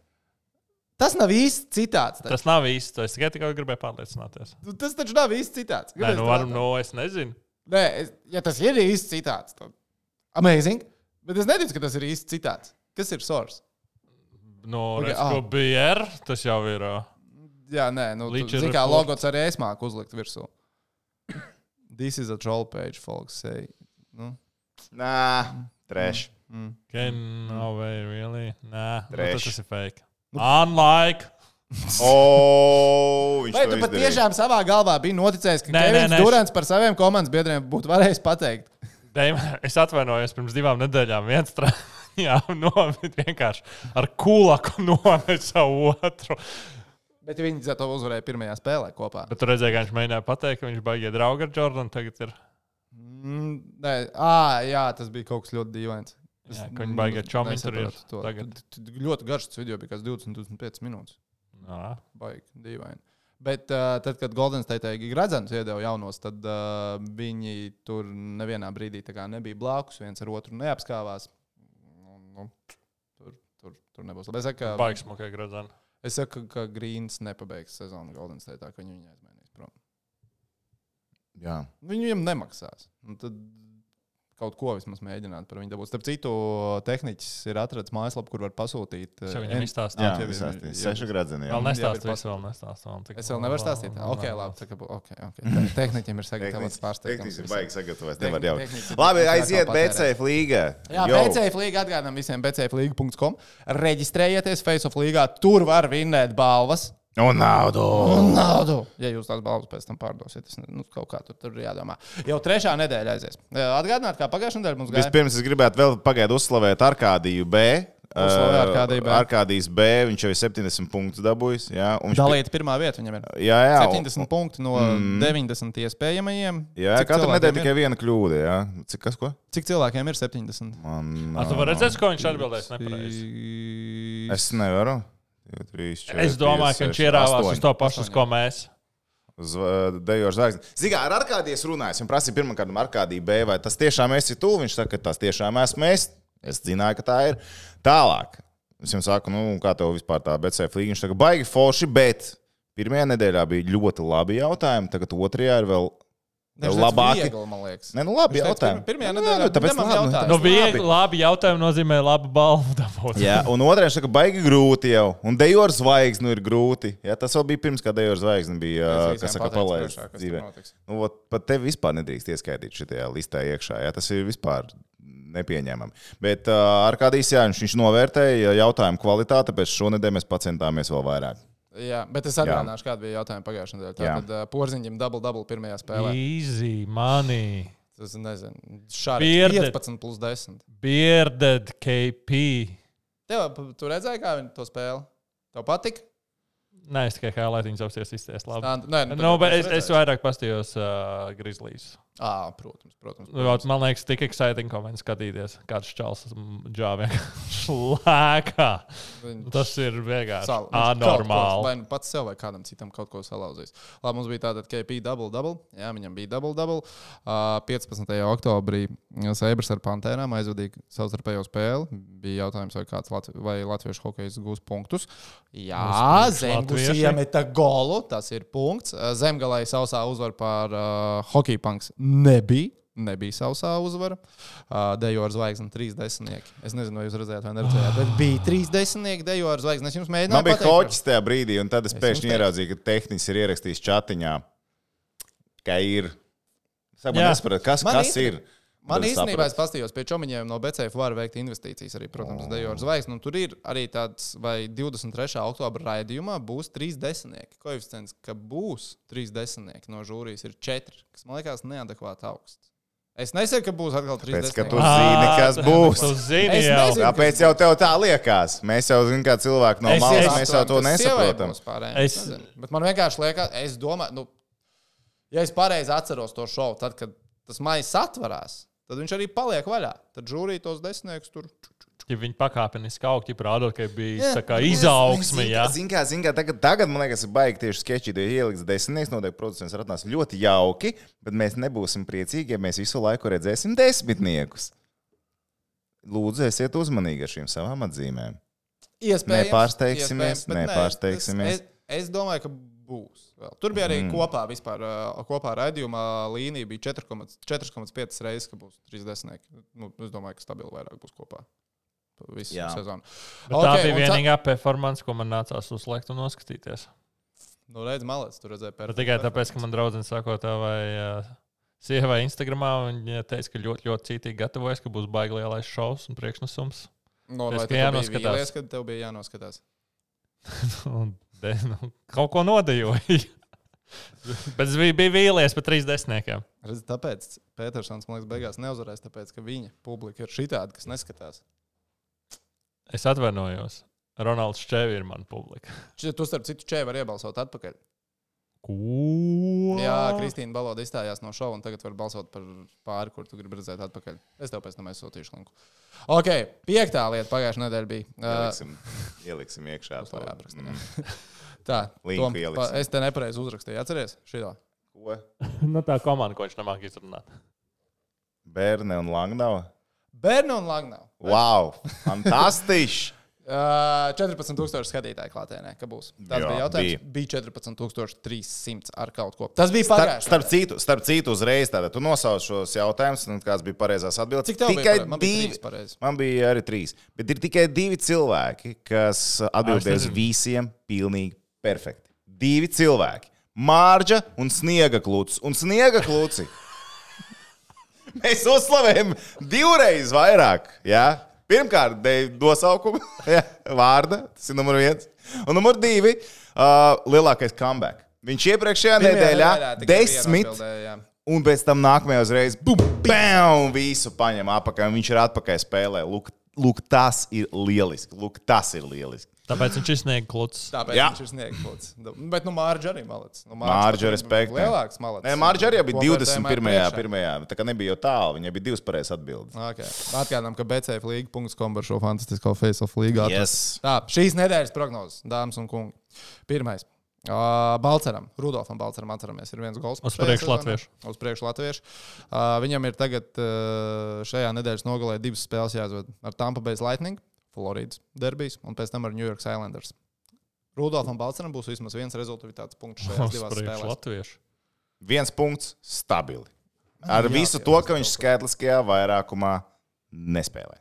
S1: Tas nav īsts citāts. Tas,
S2: Tas nav īsti. to Es tikai tikko gribēju pārliecināties.
S1: tas taču nav īsts citāts.
S2: Nē,
S1: Kāpēc
S2: nu,
S1: tu
S2: varu,
S1: atnāc?
S2: nu, es nezinu.
S1: Nē, es, ja tas ir īsts citāts, tad amazing. Bet es neticu, ka tas ir īsts citāts. Kas ir source?
S2: Nu,
S1: Ok,
S2: okay,
S1: ah.
S2: ko bija R, tas jau ir. ā,
S1: Jā, nē, nu,
S2: Leacher
S1: tā kā
S2: report.
S1: logots arī es māku uzlikt virsū. This is a troll page, folks. Say. Nu,
S3: Nā, treš.
S2: Can, no way, really? Nē, nu,
S3: Treš.
S2: tas, tas ir fake. Unlike.
S3: O, viņš
S1: Vai
S3: to
S1: tu pat
S3: izdarīja.
S1: tiešām savā galvā biji noticējis, ka
S2: Nē, nē,
S1: Kevins
S2: nē,
S1: Durants par saviem komandas biedriem būtu varējis pateikt?
S2: Deimon, es atvainojos pirms divām nedēļām. Viens strādājām, nomet vienkārši ar kulaku nomet savu otru.
S1: Bet viņi za to uzvarēja pirmajā spēlē kopā.
S2: Bet tur redzēja, ka viņš mēģināja pateikt, ka viņš baigīja draugu ar Jordanu. Tagad ir.
S1: Mm, nē, à, jā, tas bija kaut kas ļoti dīvains.
S2: Jā, ka viņi baigi ar čomiņu tur ir
S1: nesaprotu nu, to.
S2: tagad.
S1: Tu- tu- Ļoti garš tas video bija, kas 20-25 minūtes.
S2: Nā,
S1: Baigi, dīvaini. Bet uh, tad, kad Goldens teica, ka Gradzens iedeva jaunos, tad uh, viņi tur nevienā brīdī tā kā nebija blakus, viens ar otru neapskāvās. Nu, nu, tur Tur, tur nebūs labi. Es saku, ka,
S2: Baigs mokai gradzan.
S1: es saku, ka Grīns nepabeigs sezonu Golden State, ka viņu viņa aizmainīs prom. Nu,
S3: Jā.
S1: Viņiem nemaksās. Un tad kaut ko vismaz mēģināt par viņu dabūt. Starp citu, tehniķis ir atradzis mājaslapu, kur var pasūtīt. eh,
S2: Es jau viņam
S3: Jā,
S2: izstāstīju.
S1: Jā,
S3: visās
S1: jā,
S3: tīs
S1: jā.
S3: sešu gradzieniem.
S2: Vēl
S1: jā,
S2: nestāstīju,
S1: bet
S2: es vēl nestāstīju.
S1: Es vēl nevaru stāstīt. Ok, labi. tā kā bū- ok, ok. Te- Tehniķiem ir sagatavots pārsteigums.
S3: Tehniski ir baigi sagatavoties. Nevar jau.
S1: Tehnicis ir
S3: Labi,
S1: baigi
S3: aiziet
S1: patērēt.
S3: BCF līgā.
S1: Jā,
S3: Jau.
S1: BCF līga atgādinām visiem BCF līga.com. Reģistrējieties Face of League. Tur var vinnēt balvas.
S3: Un naudu.
S1: Un naudu. Ja jūs tās balvas pēc tam pārdosiet, tas nu, kaut kā tur, tur ir jādomā. Jau trešā nedēļa aizies. Eh, Atgādināt, kā pagājušā nedēļa mums gāja.
S3: Vispirms es gribētu vēl pagaidu uzslavēt Arkādiju B. Eh,
S1: Uzslavē Arkādiju B.
S3: Arkādijas B. Viņš jau ir 70 punktus dabūjis. Jā, un viņš
S1: Dalīta pirmā vieta viņam ir.
S3: Jā, jā. un-
S1: 70 punkti no mm. 90 iespējamajiem.
S3: Jā,
S1: Cik
S3: katru
S1: cilvēkiem
S3: nedēļu
S1: ir?
S3: tikai viena kļūda. Jā. Cik kas ko?
S1: Cik cilvēkiem ir 70?
S3: Man,
S2: Ar tu
S3: nav.
S2: vari redzēt, ko viņš atbildēs nepareizi?
S3: Es nevaru. 2, 3, 4,
S2: Es domāju, ka viņš ierāvās uz to pašu, uz ko mēs.
S3: Uz uh, Dejoša zvaigznes. Zinām, ar Arkādijas runājot, un prasīja pirmā kārta Arkādija B, vai tas tiešām esi tu? Viņš saka, ka tas tiešām esmu es. Es zināju, ka tā ir. Tālāk. Es viņam saku, nu, kā tev vispār tā BCF līnija? Viņš saka, baigi forši, bet pirmajā nedēļā bija ļoti labi jautājumi, tagad otrajā ir vēl.
S1: Viņš teica,
S3: Labāki.
S1: viegli, man liekas.
S3: Nē, nu, labi
S1: Viņš teica,
S3: jautājumi.
S1: pirm- pirmajā
S3: Nu,
S1: nedēļā
S3: nu, tāpēc
S1: ņemam
S3: labi, nu,
S1: jautājumus.
S2: Nu,
S3: tāpēc
S2: viegli,
S3: labi.
S2: labi jautājumi nozīmē labu balvu dabūt.
S3: Jā, un otrais saka, baigi grūti jau. Un Dejoša zvaigznes nu, ir grūti. Jā, tas vēl bija pirms, kad Dejoša zvaigznes bija,
S1: Es
S3: kas
S1: visiem
S3: saka,
S1: pateicu priekšā,
S3: palaists
S1: kas tur
S3: dzīvē.
S1: notiks.
S3: Nu, ot, pat tevi vispār nedrīkst ieskaitīt šajā listē iekšā. Jā, tas ir vispār nepieņēmami. Bet uh, ar kādīs jā, viņš, viņš novērtēja jautājumu kvalitāti, tāpēc šonadēļ mēs pacentāmies vēl vairāk.
S1: Jā, bet es atgādināšu, kāda bija jautājuma pagājušā nedēļa.
S3: Jā.
S1: Tad uh, porziņam dabūja dabūja pirmajā spēlē.
S2: Easy, money,
S1: Tas nezinu, šādi
S2: Pierdi.
S1: 15 plus 10.
S2: bearded KP.
S1: Tev, p- tu redzēji, kā viņi to spēlē? Tev patika?
S2: Nē, es tikai highlights apsies izties labi.
S1: Tā, nē, nu,
S2: Nu,
S1: tāpēc
S2: bet es, es
S1: redzēju.
S2: vairāk pastījos uh, Grizzlies.
S1: Ā, protams, protams.
S2: Vot, Man liekas, tik exciting komentāri skatīties, kāds čels džāvē šlēkā.
S1: Viņi-
S2: Tas ir vienkārši
S1: Sal- viņš kaut ko-
S2: anormāli.
S1: Vai nu pats sev vai kādam citam kaut ko salauzīs. Labi, mums bija tāda KP double double. Jā, viņam bija double double. Uh, 15. oktobrī Seibers ar Pantērām aizvadīja savstarpējo spēli. Bija jautājums, vai kāds Latvi vai latviešu hokejais gūs punktus. Jā,
S2: Mums
S1: Zemgals
S2: latvieši.
S1: iemeta golu. Tas ir punkts. Uh, Zemgalai sausā uzvara pār uh, hockey punks nebija. Nebija sausā uzvara. Uh, dejo ar zvaigzni trīs desmitnieki. Es nezinu, vai jūs redzējāt, vai neredzējāt, bet bija trīs desmitnieki. Dejo ar zvaigzni. Es jums mēģināju.
S3: Man bija
S1: pateikt, vai-
S3: hoķis tajā brīdī, un tad es
S1: Es jums
S3: pēkšņi
S1: teicu.
S3: ieraudzīju, ka tehnicis ir ierakstījis chatiņā, ka ir. Saka,
S2: Jā.
S3: man nesaprot, kas,
S1: Man
S3: kas
S1: īsti-
S3: ir.
S1: Man
S3: Tad es
S1: īstenībā
S3: sapratu. Oh.
S1: es paskatījos pie čomiņiem no BCF, var veikt investīcijas arī, protams, Dejo ar zvaigzni. un Tur ir arī tāds, vai 23. oktobra raidījumā būs trīs desmitnieki. Koeficients, ka būs trīs desmitnieki no žūrijas, ir četri, kas man liekas neadekvāti augsts. Es nesaku, ka būs atkal trīs
S3: Tāpēc, ka tu
S1: desmitnieki.
S3: zini, kas
S2: Ā,
S3: būs.
S2: Tu zini,
S1: Es
S2: jau.
S1: nezinu.
S3: Tāpēc jau tev tā liekas. Mēs jau zinām, kā cilvēki no
S2: Ah, Es-
S3: malas,
S2: es-
S3: mēs jau to nesaprotam.
S1: Es...
S2: Es-
S1: nezinu. Bet man vienkārši liekas, es domāju, nu, ja es pareizi atceros to šovu, tad, kad tas maijs atverās, tad viņš arī paliek vaļā. Tad žūrija tos desmitniekus tur.
S2: Ja viņi pakāpeniski augstu, ja rādot, ka bija
S1: Jā,
S2: tā kā izaugsme.
S3: Zini,
S2: jā.
S3: kā- Zini, kā, zini, kā tagad, tagad, man liekas, ir baigi tieši sketčī, ja ieliks desmitnieks, noteikti producents ratnās ļoti jauki, bet mēs nebūsim priecīgi, ja mēs visu laiku redzēsim desmitniekus. Lūdzu, esiet uzmanīgi ar šīm savām atzīmēm.
S1: Iespējams,
S3: Nepārsteigsimies,
S1: iespējams, bet nē,
S3: nepārsteigsimies.
S1: Es, es, es domāju, ka būs. Vēl. Tur bija arī mm. kopā, vispār, ā, kopā raidījumā līnija bija 4,5 reizes, ka būs 30. Nu, es domāju, ka stabili vairāk būs kopā. pa Visu
S3: Jā.
S1: sezonu.
S2: Bet okay, tā
S1: Okei,
S2: bija
S1: un
S2: vienīgā performance, ko man nācās uzlikt un noskatīties.
S1: Nu, redz, malēc, tur redzēja
S2: Bet
S1: pērtiķi.
S2: Nu, tikai tāpēc, ka man draudzene sako, tā vai uh, sieva Instagramā, un viņa teica, ka ļoti, ļoti cītīgi gatavojas, ka būs baigi lielais šovs un priekšnesums.
S1: No,
S2: Es
S1: Nu, vai
S2: ka
S1: tu jānoskatās.
S2: jānoskatās.
S1: Bija vīlies, kad tev bija jānoskatās.
S2: Un de, nu, kaut ko nodejoja. bet es biju, biju vīlies par trīs desmitniekiem.
S1: Redz, tāpēc Pētersons, man liekas, beigās neuzvarēs, tāpēc, ka viņa publika ir šitāda, kas neskatās.
S2: Es atvainojos. Ronalds Čevi ir mana publika.
S1: Šķiet, Tu, starp citu, čēvi var iebalsot atpakaļ.
S2: Ko?
S1: Jā, Kristīna Baloni izstājās no šova, un tagad var balsot par pāri, kur tu gribi redzēt atpakaļ. Es tev pēc tam aizsūtīšu linku. Ok, piektā lieta pagājušā nedēļa bija. Uh,
S3: Ieliksim, ieliksim iekšā
S1: Uz
S3: to
S1: to jāapraksta,
S3: Mm.
S1: tā,
S3: Linku
S1: Tom, pa,
S3: ieliksim.
S1: es te nepareizi uzrakstīju, atceries? Šito.
S3: Ko?
S2: nu, tā komanda, ko viņš nemāk izrunāt.
S3: Bērni un Langnava.
S1: Bērnu un Lagnau.
S3: Wow! Fantastiski!
S1: Uh, 14,000 skatītāju klātienē, ka būs. Tas
S3: Jā,
S1: bija jautājums. Bija, bija 14,300 ar kaut ko. Tas bija
S3: Starp,
S1: pagājušajā
S3: starp, citu, starp citu, uzreiz tātad tu nosauc šos jautājumus, un kāds bija pareizās atbildes.
S1: Cik tev bija pareizi?
S3: tikai
S1: Man bija
S3: divi.
S1: trīs pareizi.
S3: man bija arī trīs. Bet ir tikai divi cilvēki, kas atbildēja uz
S2: nezinu.
S3: visiem pilnīgi perfekti. Divi cilvēki. Mārģa un sniega klūcis. Un sniega klūci. Mēs uzslavējam divreiz vairāk. Jā. Pirmkārt, dēļ nosaukuma, jā, vārda. Tas ir numur viens. Un numur divi uh, - lielākais comeback. Viņš iepriekšējā nedēļā desmit Un pēc tam nākamajā uzreiz, bam, visu paņem apakā. un Viņš ir atpakaļ spēlē. Lūk, lūk, tas ir lieliski. Lūk, tas ir lieliski.
S2: Tāpēc viņš izsniedz klucis.
S1: Tāpēc Jā.
S3: Jā.
S1: viņš ir sniegts. Bet, nu, Mārķis arī malācis. Nu,
S3: Mārģa
S1: pat
S3: arī respektē.
S1: Lielāks malācis.
S3: Nē, Mārģis arī bija 21. pirmajā, tā kā nebija jau tālu. Viņai bija divas pareizas atbildes.
S1: Okay. Atgādinām, ka BCFLīga.com par šo fantastisko face-off līgu. atrast.
S3: Yes.
S1: Tā, šīs nedēļas prognozes, dāmas un kungi. Pirmais. Uh, Balceram, Rudolfam Balceram, atceramies, ir viens gols.
S2: Uz
S1: šajā
S2: priekšu
S1: sezonā.
S2: latviešu.
S1: Uz priekšu latviešu. Uh, viņam ir tagad uh, šajā nedēļas nogalē divas spēles jāizved ar Tampa Bay Lightning, Floridas derbijas un pēc tam ar New York Islanders. Rudolfam Balceram būs vismaz viens rezultāts punkts šajās divās
S2: Priekš
S1: spēlēs.
S2: latviešu.
S3: Viens punkts - stabili. Ar
S1: Jā,
S3: visu
S1: jā,
S3: to, ka viņš skaitliskajā vairākumā nespēlē.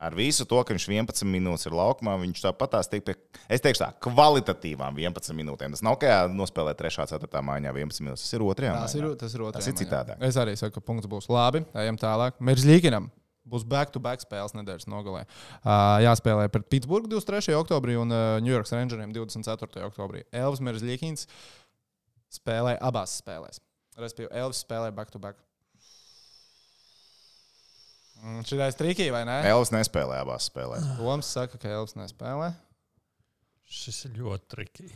S3: Ar visu to, ka viņš 11 minūtes ir laukumā, viņš tāpatās tiek pie, es teikšu, tā, kvalitatīvām 11 minūtēm. Tas nav kā nospēlēt 3. 4. maiņā 11 minūtes, tas ir 2.
S1: Tas ir, tas ir otrs.
S3: Tas ir citādāk.
S1: Es arī saku, ka punkts būs labi. Ejam tālāk. Meržģīkinam būs back-to-back spēles nedēļas nogalē. Uh, jāspēlē pret Pitsburgu 23. oktobrī un uh, New York Rangeriem 24. oktobrī. Elvis Meržģīkins spēlē abās spēlēs. Respektīvi, Elvis spēlē back-to-back. Šī ir trikīga, Mm, vai ne?
S3: Elvis nespēlē abās spēlēs.
S1: Toms saka, ka Elvis nespēlē.
S2: Šis ir ļoti trikīgi.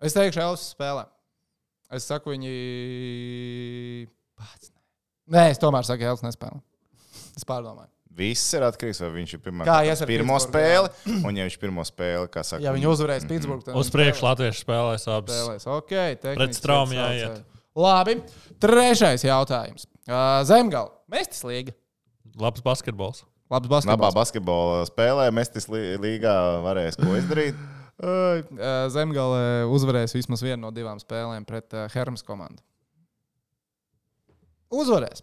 S1: Es teikšu, Elvis spēlē. Es saku, viņi. Pats. nē. Nē, es tomēr saku, Elvis nespēlē. Es pārdomāju.
S3: Viss ir atkarīgs no tā, vai viņš ir pirmā
S1: Kā
S3: kāpēc
S1: ies ar
S3: pirmo
S1: Pitsburgu,
S3: spēli. Un, ja viņš pirmo spēli, kā Mhm. saka,
S1: Ja viņi uzvarēs Pitsburgā, tad
S2: Uz
S1: viņi
S2: priekšu latviešu spēlēs abas.
S1: spēlēs. Okay,
S2: Pret Straumu jāiet.
S1: Labi. Trešais jautājums. Uh, Zemgala. Mēstis līga.
S2: Labs basketbols.
S1: Labs
S3: labā
S1: basketbols.
S3: basketbola spēlē, Mestis lī- līgā varēs ko izdarīt.
S1: Uh, Zemgala uzvarēs vismaz vienu no divām spēlēm pret uh, Hermas komandu. Uzvarēs.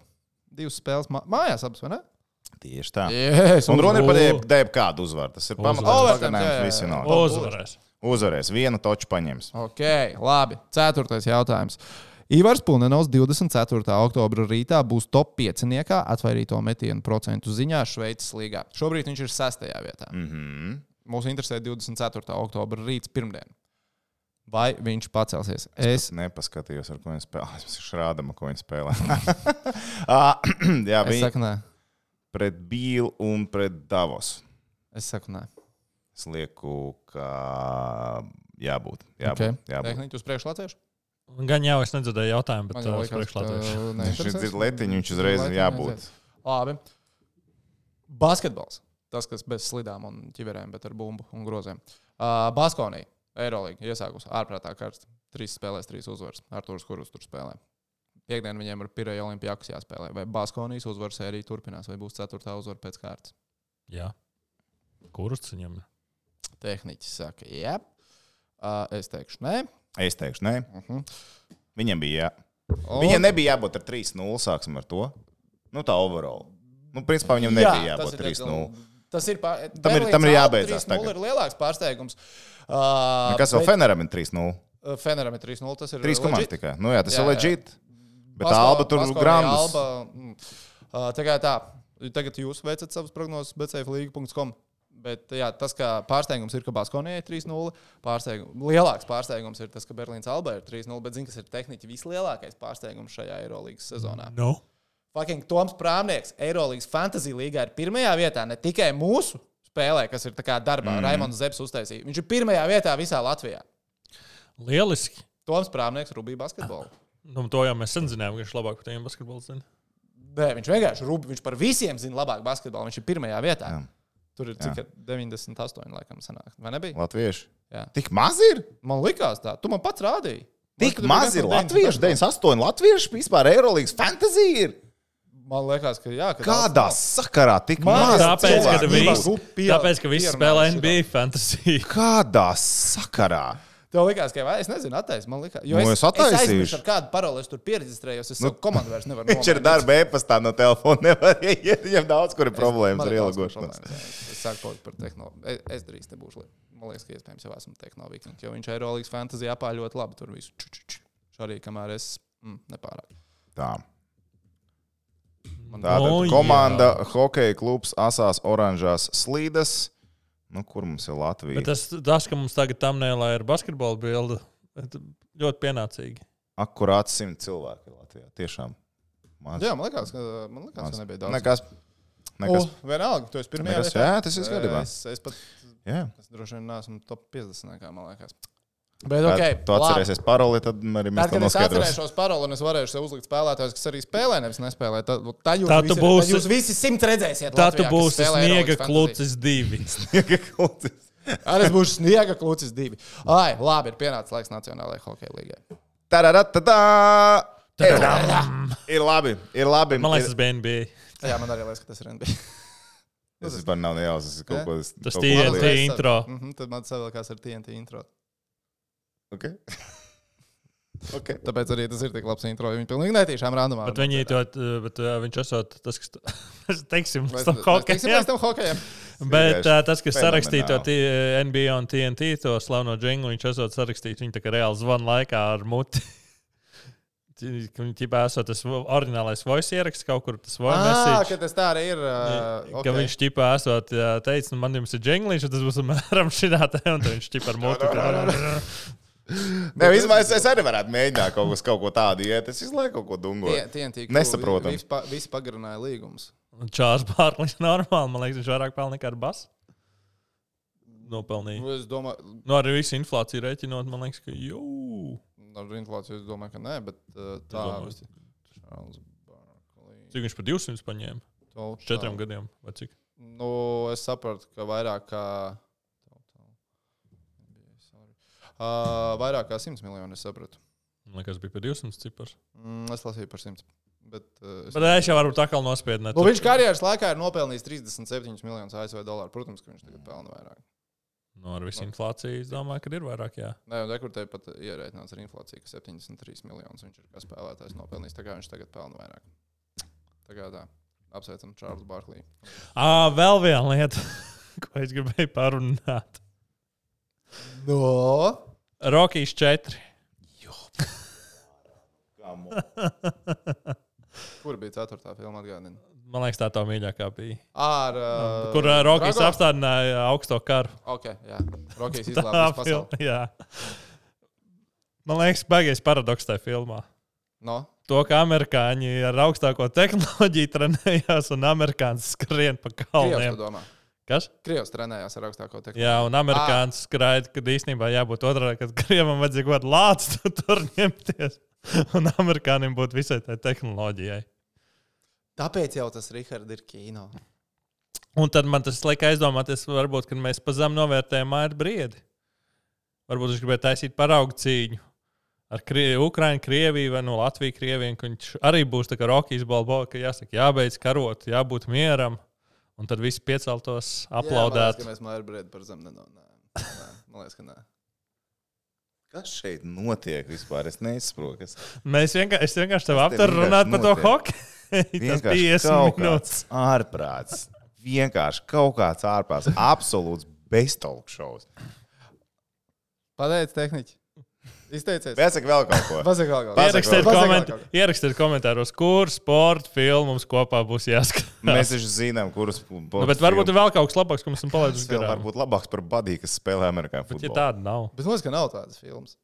S1: Divas spēles mā- mājās, abas, vai ne?
S3: Tieši tā.
S1: Yes,
S3: Un runa ir par
S2: Uzvaru.
S3: jeb- jeb kādu uzvaru. Tas ir
S1: Uzvaru.
S3: pamats.
S1: Jā, jā, jā.
S3: Visi nav.
S2: Uzvarēs.
S3: Uzvarēs, vienu toču paņems.
S1: Ok, labi. Ceturtais jautājums. Ivars Pulnenovs 24. oktobra rītā būs top 5 atvairīto metienu procentu ziņā Šveices līgā. Šobrīd viņš ir 6. vietā.
S3: Mm -hmm.
S1: Mūs interesē 24. oktobra rīts, pirmdien. Vai viņš pacelsies? Es
S3: Nepaskatījos, ar ko viņi spēlē. Es rādām, ko viņi spēlē. Ah, jā,
S1: es
S3: bija
S1: saku, nē,
S3: pret Bīlu un pret Davos.
S1: es saku, nē.
S3: Es lieku, ka jābūt.
S1: Okay.
S3: Jābūt. jābūt.
S1: Tehniski uz priekšu latviešu.
S2: Gan jau es nedzirdēju jautājumu, bet
S1: Man jau
S2: uh, uz
S1: liekas,
S2: priekšu
S1: ka
S2: latviešu.
S1: neinteresēs.
S3: Viņš ir letiņš, viņš uzreiz ir
S1: Letiņu
S3: jābūt.
S1: aizies. Labi. Basketbols. Tas, kas bez slidām un ķiverēm, bet ar bumbu un grozēm. Uh, Baskonija, Eirolanda iesākusi ārprātā kārtas. Trīs spēlēs, trīs uzvaras. Ar to, kurus tur spēlē. Piektdien viņiem ir Pirēja Olimpijākas jāspēlē. Vai Baskonijas uzvaras sērija turpinās, vai būs ceturtā uzvara pēc kārtas?
S2: Jā. Kurus viņam? ir?
S1: Tehniķis saka, jā. Uh, es teikšu, nē.
S3: Es teikšu, nē.
S1: Uh -huh.
S3: Viņam bija, jā. Viņam nebija jābūt ar 3-0. Sāksim ar to. Nu, tā overall. Nu, principā viņam nebija jābūt 3-0.
S1: nu, Tas ir pārāk.
S3: Tam ir- tam ir jābeidzās
S1: Tā
S3: tagad.
S1: ir lielāks pārsteigums. Uh,
S3: Nu, Kas vēl Feneram ir 3-0?
S1: Feneram ir 3-0. Tas ir
S3: Trīs komandas
S1: legit.
S3: tikai. Nu, jā, tas
S1: Jā,
S3: jā,
S1: jā.
S3: ir leģit. Bet
S1: Pasko-
S3: Alba tur
S1: Paskolija,
S3: grāmatas.
S1: Alba, mm, uh, tā kā tā, tagad jūs veicat savas prognozes bcflīga.com. Bet jā, tas, ka pārsteigums ir, ka Baskonijai ir 3-0. pārsteigums- Lielāks pārsteigums ir tas, ka Berlīns Alba ir 3-0. Bet zini, kas ir tehniski vislielākais pārsteigums šajā Eirolandes sezonā?
S2: Nu.
S1: Fucking Toms Prāmnieks, Eirolandes fantasy līgā ir pirmajā vietā ne tikai mūsu spēlē, kas ir tā kā darbā, mm. Raimons Zepsi uztaisīja. Viņš ir pirmajā vietā visā Latvijā.
S2: Lieliski.
S1: Toms Prāmnieks, Rubija basketbolu.
S2: Nu, to jau mēs sen zinājām, ka viņš labāk par tiem basketbolus zina.
S1: Nē, viņš vienkārši rūp, viņš par visiem zina labāk basketbolu. Viņš ir pirmajā vietā. Jā.
S3: Jā.
S1: Tur ir cik 98, laikam, sanāk. Vai nebija?
S3: Latvieši.
S1: Jā.
S3: Tik maz ir?
S1: Man likās tā, tu man pats rādīji. Man
S3: Tik
S1: tur
S3: maz
S1: bija
S3: ir
S1: kaut kāds
S3: latviešu, 98 latviešu vispār Eirolandes fantasy ir.
S1: deviņdesmit- Man liekas, ka jā, ka
S3: Kādā sakarā tik
S1: Man-
S3: maz?
S2: Tāpēc, ka
S1: cilvēki,
S2: viss,
S1: grupa pieaug-
S2: tāpēc, ka viss
S1: pierunā
S2: spēlē
S1: šito.
S2: NBA fantasy.
S3: Kādā sakarā?
S1: Tev likās, ka es nezinu, attaisnu. Man liekas, jo
S3: Nu,
S1: es,
S3: es attaisīšu.
S1: aizmirsu, ar kādu paroli es tur pieregistrējos. Es nu, savu komandu vairs nevaru
S3: Viņš ir darba e-pastā no telefona. Nevar iet, viņam daudz kur ir problēmas ar ielūgošanos.
S1: Es sāku palikt par tehnoloģiju. Es, es drīz te būšu. li- Man liekas, ka iespējams jau esmu tehnoloģija. Jo viņš Eirolandes fantāzijā apā ļoti labi tur visu. ču, ču, ču. Šorī, kamēr es mm, nepārāk.
S3: Tā.
S1: Man
S3: Tātad
S2: Nu,
S3: no,
S2: jā.
S3: komanda hokeja klubs asās oranžās slīdas. Nu, kur mums ir Latvija?
S2: Bet uh, tas, tas, ka mums tagad tam nēlā ir basketbola bilde, et- ļoti pienācīgi.
S3: Akurāt simt cilvēku ir Latvijā. Tiešām. Maz.
S1: Jā, man liekas, ka, man liekas,
S3: maz.
S1: ka nebija daudz.
S3: Nekas.
S1: Nekas.
S3: Nekas.
S1: O, vienalga, tu esi pirmajā
S3: Nekas.
S1: vietā.
S3: Jā, tas ir skatībā.
S1: Es, es pat
S3: Jā.
S1: es droši vien neesmu top 50. kā man liekas. Bet, ok,
S3: Okay, tu atcerēsies paroli, tad arī mēs
S1: Tad,
S3: to
S1: kad es
S3: noskaidrosim.
S1: atcerēšos paroli un es varēšu sev uzlikt spēlētājus, kas arī spēlē, nevis nespēlē, tad tā jūs,
S2: Tā tu
S1: visi,
S2: būsi-
S1: tad jūs visi simt redzēsiet.
S2: Tā tu
S1: Latvijā, kas
S2: būsi
S1: spēlē
S2: sniega
S1: Eirolandes fantasy.
S2: klūcis divi.
S1: Arī es būšu sniega klūcis divi. Ai, labi, ir pienācis laiks Nacionālajai hokeja līgai.
S3: Tararatadā! Ir labi, ir labi.
S2: Man liekas, tas bija NBA.
S1: Jā, man arī liekas, ka tas ir NBA.
S3: tas vispār nav nejausmas. es kaut ko- es
S2: Tas
S3: kaut ko
S2: TNT
S3: lieku.
S2: ir intro.
S1: Mm -hmm, tad man savilkās ar TNT intro.
S3: Okay. okay.
S1: Tāpēc arī tas ir tik labs intro, jo viņi pilnīgi netīšām randomā.
S2: Bet viņi to, bet uh, viņš esot tas, kas, mēs teiksim,
S1: Mēs-
S2: mēs tam
S1: mēs teiksim,
S2: hokejam.
S1: mēs tam hokejam.
S2: Bet
S3: Vienkārši
S2: uh, tas, kas sarakstīja to T-
S3: fenomenāli.
S2: NBA un TNT, to slaveno džungli, viņš esot sarakstījis viņu tā kā reāli zvanu laikā ar muti. Viņa tipā esot tas vo- orģinālais voice ieraksts kaut kur, tas voice
S1: Ah,
S2: message.
S1: ka tas tā arī ir. Uh,
S2: Ka viņš tipā esot jā, teicis, nu, man jums ir džunglis, un tas būs apmēram šitā te, un tad viņš tipā ar muti. tā-
S3: Ne, vismaz, es, es arī varētu mēģināt kaut, kas, kaut ko tādu iet. Es visu laiku kaut ko dungoju.
S1: TNT.
S3: Nesaprotam.
S1: Visi, pa, visi pagarināja līgumus.
S2: Un Čārlis Bārlis normāli, man liekas, viņš vairāk pelna nekā ar basu. Nopelnīja.
S1: Nu, Es domāju,
S2: Nu, arī visu inflāciju rēķinot, man liekas, ka jau.
S1: ar inflāciju es domāju, ka nē, bet uh, tā
S2: domāju.
S1: Čārls Barklī.
S2: Cik viņš par 200 paņēma?
S1: Tauta-
S2: Četriem gadiem vai cik?
S1: Nu, es sapratu, ka vairāk kā. Uh, vairāk kā 100 miljoni es sapratu.
S2: Man liekas, bija par 200 cipars.
S1: Mm, es lasīju par 100. Bet, uh, es...
S2: Bet es jau varu tā kā nospiedināt.
S1: nu, viņš karjeras laikā ir nopelnījis 37 miljonus ASV dolāru. Protams, ka viņš tagad pelna vairāk.
S2: Nu, ar visu inflāciju es domāju, ka ir vairāk. Jā.
S1: Nē, un rekurtē pat ierēķināts ar inflāciju, ka 73 miljonus viņš ir kā spēlētājs nopelnījis. Tā kā viņš tagad pelna vairāk. Tā kā tā. Apsveicam Čārlzu Barkliju.
S2: À, vēl viena lieta, ko es gribēju parunāt.
S1: No.
S2: Rokijas 4.
S1: Kur bija 4. filma atgādina?
S2: Man liekas, tā tā mīļākā bija.
S1: Ar.
S2: Uh,
S1: Uh,
S2: kur uh, Rokijas
S1: Drago?
S2: apstādināja augsto karu.
S1: Ok, jā. Rokijas
S2: Tā
S1: izglābis pasauli.
S2: filma. Jā. Man liekas, baigais paradoks tajā filmā.
S1: No.
S2: To, ka amerikāņi ar augstāko tehnoloģiju trenējās un amerikāņi skrien pa
S1: Krievs, tu
S2: kalniem.
S1: domā.
S2: Kas?
S1: Krievs trenējās ar augstāko tehniku.
S2: Jā, un amerikāņš
S1: Ah.
S2: skraida, kad īstenībā jābūt otrādi, kad krievam vajadzēja kaut kādu lāci tu tur ņemties. Un amerikāņiem būtu visai tai tehnoloģijai.
S1: Tāpēc jau tas Rihards ir kino.
S2: Un tad man tas liek aizdomāties, varbūt, ka mēs pazem novērtējam Maiju Briedi. Varbūt viņš gribēja taisīt paraugu cīņu ar Krie Ukraiņu, Krieviju vai no Latviju, Krieviju. ka Viņš arī būs tā kā Rokijas balboja, ka jāsaka, jābeidz karot, jābūt mieram. Un tad visi pieceltos, aplaudētu.
S1: Jā, man liekas, ka mēs Maija Brēdu par zem nenonākam. Man liekas, ka nē.
S3: Kas šeit notiek vispār? Es nesaprotu. Kas...
S2: Mēs vienkārši, es vienkārši tev
S3: te
S2: aptveru runāt par to
S3: vienkārši
S2: hokeju. Tas
S3: Vienkārši
S2: bija 50
S3: kaut
S2: minūtes.
S3: kāds Ārprāts. Vienkārši kaut kāds ārprāts. Absolūts beztalks šovs.
S1: Pateic, tehniķi. Izteicies.
S3: Jāsaka vēl kaut ko.
S1: Pasaka vēl kaut ko.
S3: Pasaka
S2: Ierakstiet,
S1: Pasaka vēl
S2: koment,
S1: kaut ko.
S2: ierakstiet komentāros, kur sporta filmu mums kopā būs jāskatās.
S3: Mēs taču zinām, kurus
S2: Nu, bet varbūt ir vēl kaut kas labāks, ko mēs esam palaiduši
S3: vēl var
S2: garām.
S3: būt labāks par Badī, kas spēlē amerikāņu
S2: Bet, ja
S3: futbolu.
S2: tāda nav,
S1: Bet mums, ka nav tādas filmas.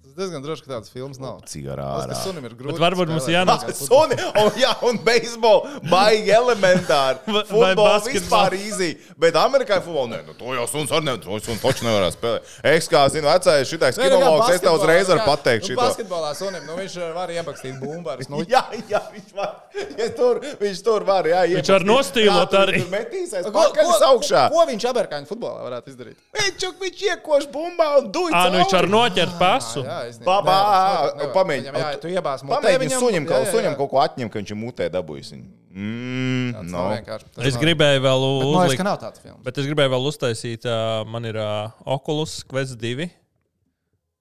S1: Tas diezgan droši, ka tādas filmas nav.
S3: Cigarā.
S1: Tas, ka sunim ir grūti.
S2: Bet varbūt mums
S1: spēlēt
S2: jānāk-
S1: amerikāņu futbolu.
S3: Suni, oh, jā, un beisbolu baigi elementāri.
S2: Vai- vai
S3: Futbols
S2: basketbols?
S3: vispār īzī. Bet amerikāņu futbolu, nē, nu, to jau suns ar nevienu, to suns taču nevarēs spēlēt. Es kā zinu, vecais šitais
S1: Nē, nu, kā
S3: kinologs, es tev
S1: basketbolā,
S3: uzreiz
S1: nu,
S3: varu
S1: kā-
S3: pateikt
S1: nu,
S3: šito.
S1: Basketbolā sunim, nu viņš uh, var iepakstīt bumbārus. Nu,
S3: Jā, jā, viņš var. Ja tur, viņš tur var, jā,
S2: Viņš var nostīlot arī.
S3: Viņš metīsies pakaļ augšā.
S1: Ko, ko viņš amerikāņu futbolā varētu izdarīt?
S3: Viņš, viņš iekož bumbā un duļ.
S2: ah, nu viņš var
S3: cauri.
S2: noķert pasu.
S1: jā, jā, taisnība.
S3: Babā,
S1: Nevar, nevar, nevar.
S3: pamēģi.
S1: Viņam Jā, tu iebāz mutē.
S3: Pamēģini
S1: viņam-
S3: suņam,
S1: jā,
S3: kaut,
S1: jā,
S3: suņam
S1: jā.
S3: kaut ko atņemt, ka viņš ir mutē dabūjis. viņu. Mm,
S1: Tas
S3: no.
S1: nav vienkārši. Tas
S2: Es
S1: nav-
S2: gribēju vēl
S1: Bet Man liekas,
S2: uzlikt.
S1: ka nav tāda filma.
S2: Bet es gribēju vēl uztaisīt, uh, man ir uh, Oculus Quest 2.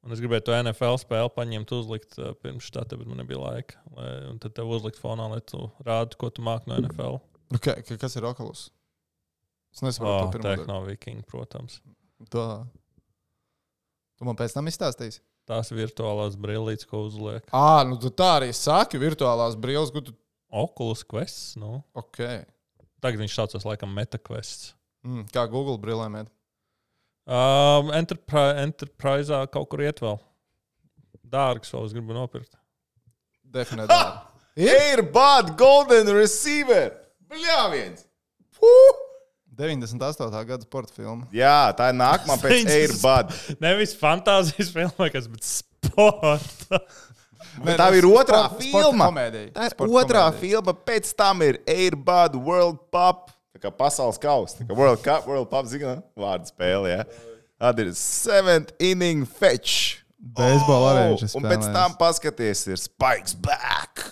S2: Un es gribēju to NFL spēli paņemt, uzlikt uh, pirms tā, bet man nebija laika. Lai, un tad tev uzlikt fonā, lai tu rādi, ko tu māki no NFL.
S3: Nu,
S1: Okay, ka- kas ir Oculus? Es nesaprotu,
S2: Oh,
S1: oh,
S2: tā
S1: pirmā
S2: ir no Viking, protams.
S1: Tā. Tu man pēc tam izstāstīsi?
S2: Tās virtuālās brillītes, ko uzliek.
S1: Ā, nu tu tā arī saki, virtuālās brīvs, kur tu.
S2: Oculus Quest. Nu.
S1: Ok.
S2: Tagad viņš saucas laikam MetaQuest.
S1: Mm, kā Google brillēm iet?
S2: Um, Enterpri Enterprise kaut kur iet vēl. Dārgs vēl, es gribu nopirkt.
S1: Definēt. dārgi. Ir
S3: Airbud Golden Receiver! Bļā viens! Puh!
S1: 98. gada sporta filma.
S3: Jā, tā ir nākamā pēc
S2: Saints.
S3: Airbud.
S2: Nevis fantāzijas filmā, kas bet sporta.
S3: Bet tā ir otrā
S1: sporta-
S3: filma.
S1: Sporta komēdija.
S3: Tā ir
S1: Sporta
S3: otrā
S1: komēdija.
S3: filma, pēc tam ir Airbud World Cup. Tā kā pasaules kausa, tā kā World Cup, World Cup zina, vārdu spēle. Ja? Tad ir 7 inning fetch. Oh,
S1: Beisbola arī viņš ir
S3: Un pēc
S1: spēlējis.
S3: tam paskaties, ir Spikes back.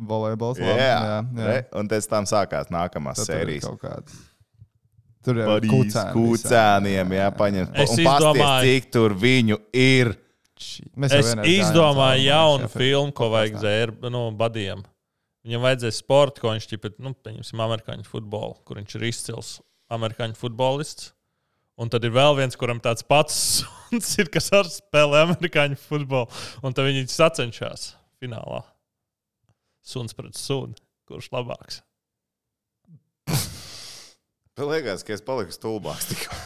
S1: Volejbols. labi,
S3: Jā,
S1: jā,
S3: re,
S1: jā.
S3: un pēc tam sākās nākamā
S1: Tad tur ir
S3: sērija.
S1: kaut kāds. Tur jau ir
S3: Parīzes
S1: kūcēni
S3: kūcēniem, jā, paņem.
S2: Es
S3: Un paskaties,
S2: izdomāju-
S3: cik tur viņu ir.
S1: visādi. Mēs jau
S2: Es
S1: vienreiz gājām
S2: izdomāju
S1: cauri,
S2: jaunu
S1: šefi.
S2: filmu, ko vajag zērbam, no badiem. Viņam vajadzēja sporta, ko viņš tipā, nu, pieņemsim, amerikāņu futbolu, kur viņš ir izcils amerikāņu futbolists. Un tad ir vēl viens, kuram tāds pats suns ir, kas arī spēlē amerikāņu futbolu. Un tad viņi sacenšas finālā. Suns pret sunu. Kurš labāks?
S3: Man liekas, ka es paliku stulbāks. tikko.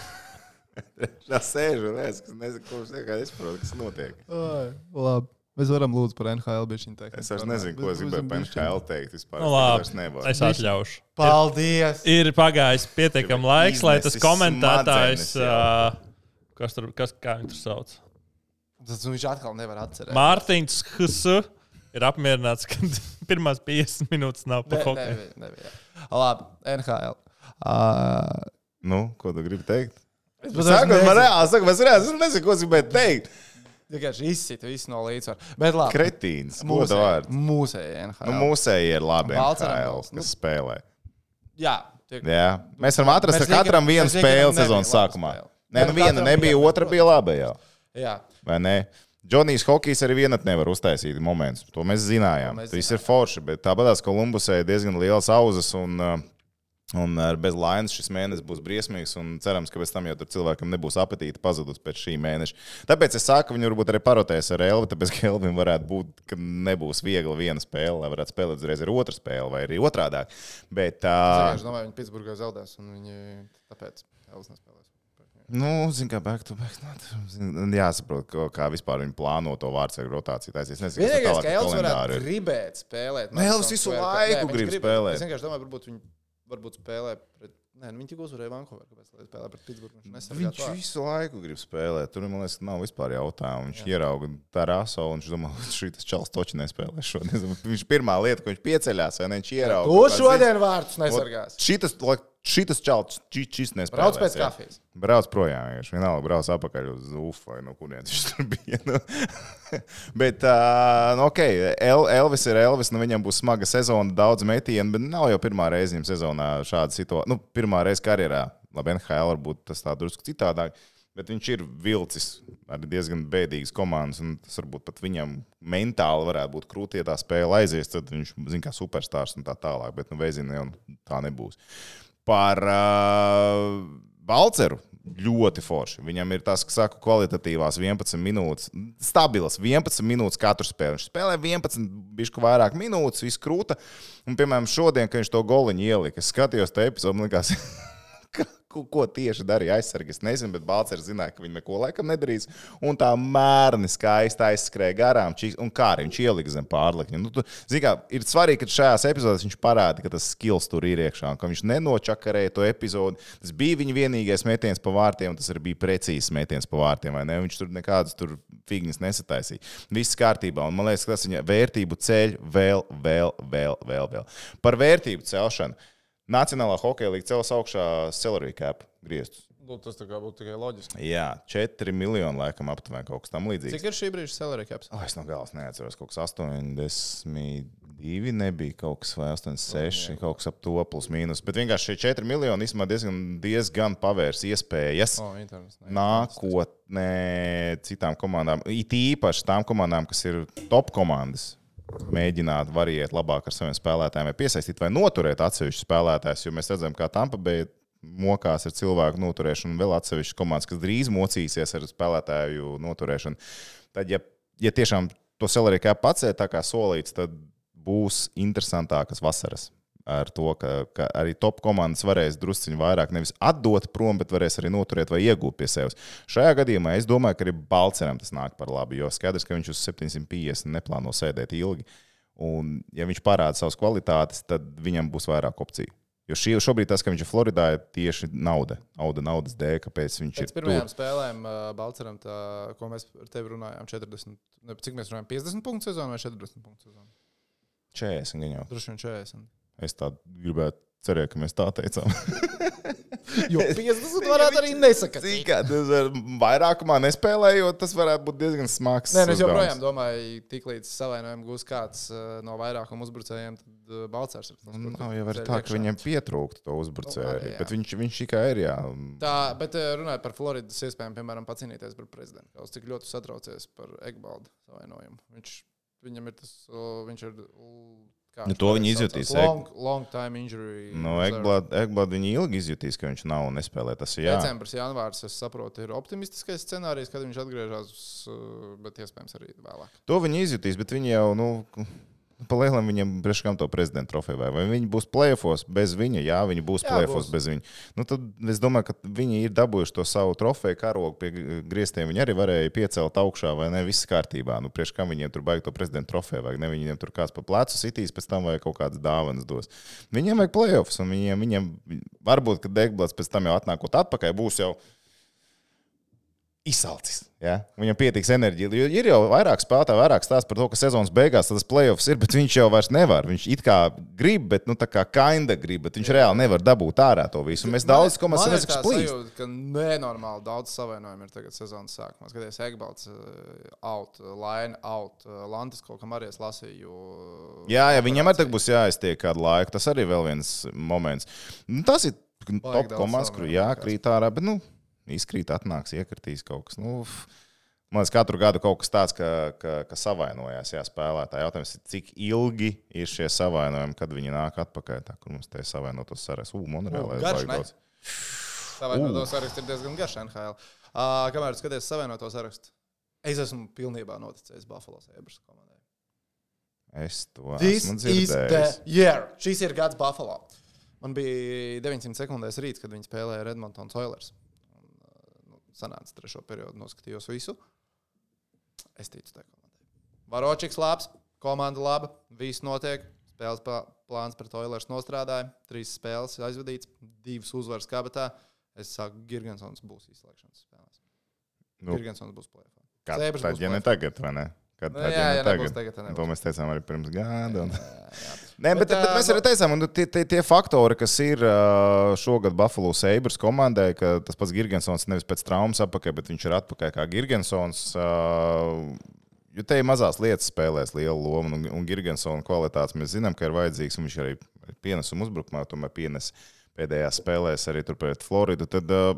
S3: Tā sēž un redz, ka nezinu, kurš vienkārši nesaprot, kas notiek.
S1: Ai, Labi. Mēs varam lūdzu par NHL bišķiņu teikt.
S3: Es vairs nezinu, ko es gribēju par NHL teikt. Vispār
S2: Nu,
S3: es
S2: labi,
S3: vairs nevaru.
S2: es atļaušu.
S1: Paldies!
S2: ir pagājis pietiekami
S3: Tev
S2: laiks, lai tas
S3: iznesis
S2: komentētājs,
S3: smadzenes jau.
S2: uh, kas tur kas, kā viņu tur sauc,
S1: Tas viņš atkal nevar atcerēties.
S2: Mārtiņš Hsu, ir apmierināts, ka pirmās 50 minūtes nav
S1: Ne,
S2: pa hokeju.
S1: nebija, nebija. Labi, NHL. Uh,
S3: Nu, ko tu gribi teikt?
S1: es
S3: Es saku, man reāli, saku, es reāli es nezinu, ko es gribēju teikt.
S1: vienkārši izsita visu no līdzsvara. Bet labi,
S3: Kretīns, mūsu
S1: mūsēji
S3: vārds.
S1: mūsēji NHL.
S3: Nu, mūsēji ir labi.
S1: Valceram
S3: NHL,
S1: būs, nu.
S3: kas spēlē.
S1: Jā, tiek,
S3: Jā. Mēs varam atrast
S1: Mēs
S3: ar katram
S1: Rīgam-
S3: vienu
S1: mēs Rīgam
S3: spēli
S1: nebija
S3: sezonas
S1: laba
S3: sākumā.
S1: spēle.
S3: Nē,
S1: Mēs
S3: nu viena
S1: katram
S3: nebija,
S1: viena,
S3: otra bija laba jau.
S1: jā.
S3: Vai ne? Džonijs Hokejs arī vienatnē nevar uztaisīt momentus. To mēs zinājām.
S1: To mēs
S3: Tas viss ir forši, bet tāpatās Kolumbusai ir diezgan liels auzas un, uh, un ar- bez lainas šis mēnesis būs briesmīgs. un Cerams, ka pēc tam jau tur cilvēkam nebūs apetīte pazudus pēc šī mēneša. Tāpēc es saku, viņi varbūt arī parotēs ar Elvi, tāpēc ka Elvim varētu būt, ka nebūs viegli viena spēle, lai varētu spēlēt uzreiz ar otru spēli vai arī otrādāk. Bet, uh,
S1: Es domāju, viņi Pitsburgā zaudēs, un viņi tāpēc Elvis nespēlēs.
S3: Nu, zinu, kā back to back. Not, zin, jāsaprot, ko- kā vispār viņi plāno to vārdu rotāciju. taisīt. Es nezinu, kas tur
S1: Vienīgais,
S3: tālāk
S1: ka
S3: ar
S1: Elvis varētu
S3: kalendāru ir.
S1: gribēt spēlēt.
S3: Nu, Elvis
S1: Madison
S3: visu
S1: Square Garden.
S3: laiku
S1: Nē, viņš
S3: grib
S1: grib-
S3: spēlēt.
S1: Es vienkārši domāju, varbūt viņi varbūt spēlē pret. Nē, nu, viņi tik uzvarēja Vankūverā, kāpēc lai spēlē pret Pitsburgu. Viņš
S3: Viņš
S1: nesargāja
S3: visu laiku grib spēlēt. Tur, man liekas, nav vispār jautājumu. Viņš ierauga Taraso un viņš domā, ka šis čels toči nespēlē šodien. Viņš pirmā lieta, ko viņš pieceļās, vai ne, viņš ierauga.
S1: To šodien vārdus nesargās.
S3: Šitas, lai- šitas čels, či- šis nespēlē.
S1: Brauc pēc kafijas.
S3: Brauc projām, viņš vienalga brauc apakaļ uz UFO vai no kurienes viņš tur bija. Nu. bet, uh, nu, ok, El, Elvis ir Elvis, nu viņam būs smaga sezona, daudz metienu, bet nav jau pirmā reize viņam sezonā šāda situācija. Nu, pirmā reize karjerā, labi, NHL varbūt tas tā drusku citādāk, bet viņš ir vilcis arī diezgan bēdīgas komandas, un tas varbūt pat viņam mentāli varētu būt krūtī, ja tā spēle aizies, tad viņš, zin, kā superstārs un tā tālāk, bet, nu, vezina jau tā nebūs par uh, Balceru. Ļoti forši. Viņam ir tas, kas saka, kvalitatīvās 11 minūtes, stabilas 11 minūtes katru spēli. Viņš spēlē 11, bišku vairāk minūtes, viss krūta. Un, piemēram, šodien, kad viņš to goliņu ielika, es skatījos te epizodu, man liekas, ka- ko, ko tieši darīja aizsargs. Es nezinu, bet Balčers zināja, ka viņi neko laikam nedarīs. Un tā mērni skaisti aizskrēja garām, čī- un kā arī viņš ielika zem pārlikņa. Nu, tu, zini kā, ir svarīgi, ka šajās epizodēs viņš parāda, ka tas skills tur ir iekšā, un ka viņš nenočakarēja to epizodi. Tas bija viņa vienīgais metiens pa vārtiem, un tas arī bija precīzs metiens pa vārtiem. vai ne? Viņš tur nekādas tur figņas nesataisīja. Viss kārtībā, un man liekas, ka tas viņa vērtību ceļ vēl, vēl, vēl, vēl. vēl. Par vērtību celšanu. Nacionālā hokeja līnija cels augšā salary cap grieztus.
S1: Nu, tas tā kā būtu tikai loģiski.
S3: Jā, 4 miljoni laikam aptuveni kaut kas tam līdzīgs.
S1: Cik ir šī brīža salary caps?
S3: O, es no galas neatceros, kaut kas 82 nebija, kaut kas vai 86, kaut kas ap to plus mīnus. Bet vienkārši šie 4 miljoni īstenībā diezgan, diezgan pavērs iespējas.
S1: O, internets. ne.
S3: nākotnē citām komandām, it īpaši tām komandām, kas ir top komandas, mēģināt variēt labāk ar saviem spēlētājiem, vai piesaistīt vai noturēt atsevišķus spēlētājus. Jo mēs redzam, kā tam pabeigts mokās ar cilvēku noturēšanu, un vēl atsevišķas komandas, kas drīz mocīsies ar spēlētāju noturēšanu. Tad, ja, ja tiešām to salāriju kā pacēt, tā kā solīts, tad būs interesantākas vasaras. Ar to, ka, ka arī top komandas varēs drusciņu vairāk nevis atdot prom, bet varēs arī noturēt vai iegūt pie sevis. Šajā gadījumā es domāju, ka arī Balceram tas nāk par labu, jo skaidrs, ka viņš uz 750 neplāno sēdēt ilgi. Un, ja viņš parāda savas kvalitātes, tad viņam būs vairāk opciju. Jo šī, šobrīd tas, ka viņš ir Floridā, ir tieši nauda. Nauda, naudas dēļ, kāpēc viņš
S1: Pēc
S3: ir tur.
S1: pirmajām spēlēm uh, Balčūskam, ko mēs ar tevi runājām, 40, ne, cik mēs runājām, 50 punktu sezonu vai 40 punktu sezonu?
S3: 40 gan jau.
S1: Droši vien 40.
S3: Es tā gribētu cerēt, ka mēs tā teicām.
S1: Jo 50 varētu arī nesakāt.
S3: Cik tādu vairākumā nespēlējot, tas varētu būt diezgan smags.
S1: Nē, nu es
S3: uzdevums.
S1: joprojām domāju, tiklīdz savainojumu gūs kāds uh, no vairākuma uzbrucējiem, tad uh, Balčūskas ir. tas,
S3: Nu,
S1: kurš
S3: Nav jau arī
S1: ceļ
S3: tā,
S1: iekšā.
S3: ka viņam pietrūkst to uzbrucēju.
S1: arī, jā.
S3: bet viņš, viņš tikai ir. Jā.
S1: Tā, bet eh, runājot par Floridas iespējām, piemēram, pacīnīties par prezidentu. Kaut cik ļoti satraucies par Egbaldu savainojumu. Viņš, viņam ir tas, o, viņš ir. l- kā
S3: Nu,
S1: viņš
S3: to
S1: pareizi
S3: viņi
S1: saucās?
S3: izjutīs, Eg-
S1: Long, long time injury.
S3: No Egblāda viņa Nu, ilgi izjutīs, ka viņš nav un nespēlē. Tas ir jā.
S1: Decembris, janvārs, es saprotu, ir optimistiskais scenārijs, kad viņš atgriežas, eh, bet iespējams arī vēlāk.
S3: To viņi izjutīs, bet viņi jau, nu, palielam viņam, priekškam to prezidenta trofeju. vai- Vai viņi būs plēfos bez viņa? Jā, viņi būs
S1: Jā,
S3: plēfos
S1: būs.
S3: bez viņa. Nu, tad es domāju, ka viņi ir dabūjuši to savu trofeju karogu pie gr- griestiem. Viņi arī varēja piecelt augšā, vai ne? Viss kārtībā. Nu, priekškam viņiem tur baigto prezidenta trofeju, vai ne? Viņiem tur kāds pa plecu sitīs, pēc tam vai kaut kādas dāvanas dos. Viņiem vajag plēfos, un viņiem, viņiem varbūt, ka Degblāts pēc tam jau atnākot atpakaļ, būs jau izsalcis. Ja? Viņam pietiks enerģija. Jo Ir jau vairāk spēlētāju, vairāk stāsta par to, ka sezonas beigās tas playoffs ir, bet viņš jau vairs nevar. Viņš it kā grib, bet nu, tā kā kainda grib, bet viņš reāli nevar dabūt ārā to visu. Un Mēs daudz komandas
S1: Man ir
S3: redzam,
S1: tā
S3: kas plīst.
S1: sajūta, ka nenormāli daudz savainojumu ir tagad sezonas sākumā. Skaties, Egbalts, eh, out, Laina, out, eh, Lantis, kaut kam arī es lasīju. uh,
S3: Jā, jā, viņam arī tagad būs jāiztiek kādu laiku. Tas arī vēl viens moments. Nu, tas ir nu,
S1: Baigi
S3: top
S1: daudz
S3: komandas, kur
S1: savainojumu, man
S3: jākrīt ārā, bet nu, izkrīt, atnāks, iekritīs kaut kas. Nu, f- Man liekas, katru gadu kaut kas tāds, ka, ka, ka savainojās jā, spēlētāji. Jautājums ir, cik ilgi ir šie savainojumi, kad viņi nāk atpakaļ. Tā, kur mums te ir savainotos saraksts? Ugh, Monreālē.
S1: U,
S3: ir
S1: garš,
S3: baigi
S1: ne?
S3: daudz.
S1: Savainoto saraksts ir diezgan garš NHL. Uh, kamēr skaties savienoto sarakstu, es esmu pilnībā noticējis Buffalo Sabres komandai.
S3: Es to
S1: This
S3: esmu
S1: is
S3: dzirdējis.
S1: the year. Šis ir gads Buffalo. Man bija 900 sekundēs rīts, kad viņi spēlēja Redmonton Oilers. Un, uh, nu, Sanāca trešo periodu, noskatījos visu. Es ticu tai komandai. Varočiks labs, komanda laba, viss notiek. Spēles plā- plāns pret Oilers nostrādāja. Trīs spēles aizvadīts, divas uzvaras kabatā. Es saku, Girgensons būs izslēgšanas spēlēs.
S3: Nu,
S1: Nu, Girgensons būs plēfā.
S3: Kad
S1: Sēbras
S3: tad,
S1: būs
S3: ja ne
S1: play-off.
S3: tagad, vai ne? Kad
S1: Nu,
S3: tad,
S1: jā,
S3: ja
S1: ja
S3: ne
S1: nebūs
S3: tagad.
S1: tagad, tad
S3: Un To mēs teicām arī pirms gada. Un... Nē,
S1: Bet,
S3: bet, bet, bet
S1: ā,
S3: mēs
S1: nu-
S3: arī teicām, ka tie, tie, tie faktori, kas ir ā, šogad Buffalo Sabres komandai, ka tas pats Girgensons nevis pēc traumas apakšā, bet viņš ir atpakaļ kā Girgensons. ā, Jo te ir mazās lietas spēlēs lielu lomu, un, un Girgensona kvalitātes mēs zinām, ka ir vajadzīgs, un viņš arī pienesuma uzbrukumā tomēr pienes pēdējās spēlēs arī tur pret Floridu. Tad, ā,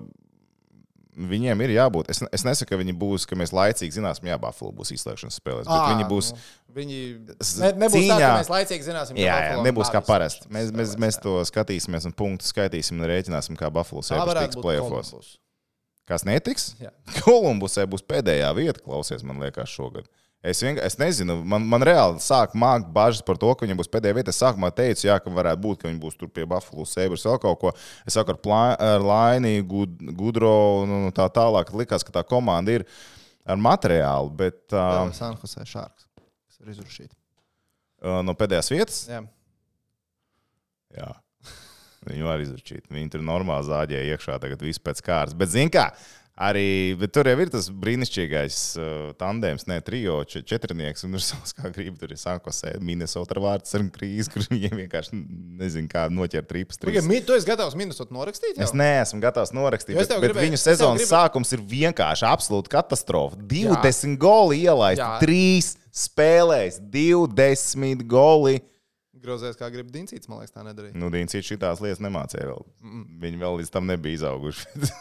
S3: Viņiem ir jābūt. Es, es nesaku, ka viņi būs, ka mēs laicīgi zināsim, jā, Buffalo būs izslēgšanas spēlēs. Bet viņi būs
S1: nu. Viņi
S3: s-
S1: ne, nebūs cīņā. tā, ka
S3: cīņā-
S1: mēs laicīgi zināsim,
S3: Jā, jā,
S1: Buffalo
S3: nebūs kā
S1: nav
S3: parasti.
S1: izslēgšanas
S3: Mēs, mēs,
S1: spēlēs,
S3: mēs
S1: jā.
S3: to skatīsimies, un punktu skaitīsim un rēķināsim, kā Buffalo
S1: Tā
S3: sēž
S1: varētu
S3: tiks
S1: būt
S3: playoffs.
S1: Kolumbus.
S3: Kas netiks?
S1: Jā.
S3: Kolumbusē būs pēdējā vieta, klausies, man liekas, šogad. Es vienkārši es nezinu, man, man reāli sāk mākt bažas par to, ka viņam būs pēdējā vieta. Es sākumā teicu, jā, ka varētu būt, ka viņi būs tur pie Buffalo Sabres vēl kaut ko. Es saku ar, Plā- ar Laini, Gud, Gudro un un tā tālāk. Likās, ka tā komanda ir ar materiālu, bet uh,
S1: Vēl ir Sanhosē šārks, kas ir izrušīts.
S3: no pēdējās vietas
S1: Jā,
S3: Jā. Viņu var izrunāt. Viņi tur normāli zāģēja iekšā, tagad viss pēc kārtas. Bet, zini, kā Arī bet tur jau ir tas brīnišķīgais uh, tandēms, ne trijo, če- četrnieks. Un tur savs kā gribi tur ir sākosē Minnesota vārds ar krīzi, kur viņiem vienkārši nezinu, kā noķert trīpas.
S1: Tikai mi- tu esi gatavs minusot norakstīt?
S3: Es neesmu gatavs norakstīt,
S1: Jo es tev
S3: bet, bet
S1: gribēju-
S3: viņu
S1: es tev
S3: sezonas
S1: gribēju-
S3: sākums ir vienkārši absolūta katastrofa. 20 goli ielaist,
S1: Jā.
S3: 3 spēlēs, 20 goli.
S1: Grozēs, kā grib Dincīts, man liekas, tā nedarīja.
S3: Nu, Dienas ir šīs lietas nemācīja vēl. Mm, Viņi vēl līdz tam nebija izauguši.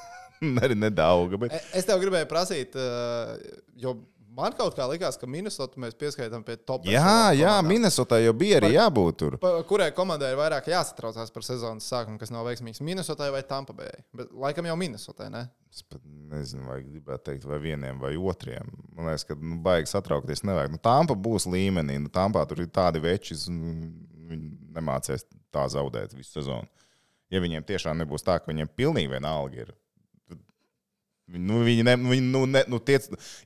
S3: Arī nedaudz. Bet...
S1: E- Es tev gribēju prasīt, uh, jo man kaut kā likās, ka Minnesota mēs pieskaitām pie top.
S3: Jā,
S1: SLL
S3: jā,
S1: komandām.
S3: Minnesotā jau bija arī jābūt tur.
S1: Pa- Kurai komandai ir vairāk jāsatraucās par sezonas sākumu, kas nav veiksmīgs? Minnesotai vai Tampabē? Bet laikam jau Minnesotai, ne?
S3: Es pat nezinu, vai gribētu teikt, vai vieniem vai otriem. Man liekas, ka nu, baigi satraukties. Nevajag. Nu, tampa būs līmenī. Nu, tampā tur ir tādi veči, nu, viņi nemācīs tā zaudēt visu sezonu. Ja viņiem tiešām nebūs tā, ka viņiem pilnīgi vienalga ir. tad viņi- Nu, viņi ne, nu, viņi, nu, ne, nu, tie,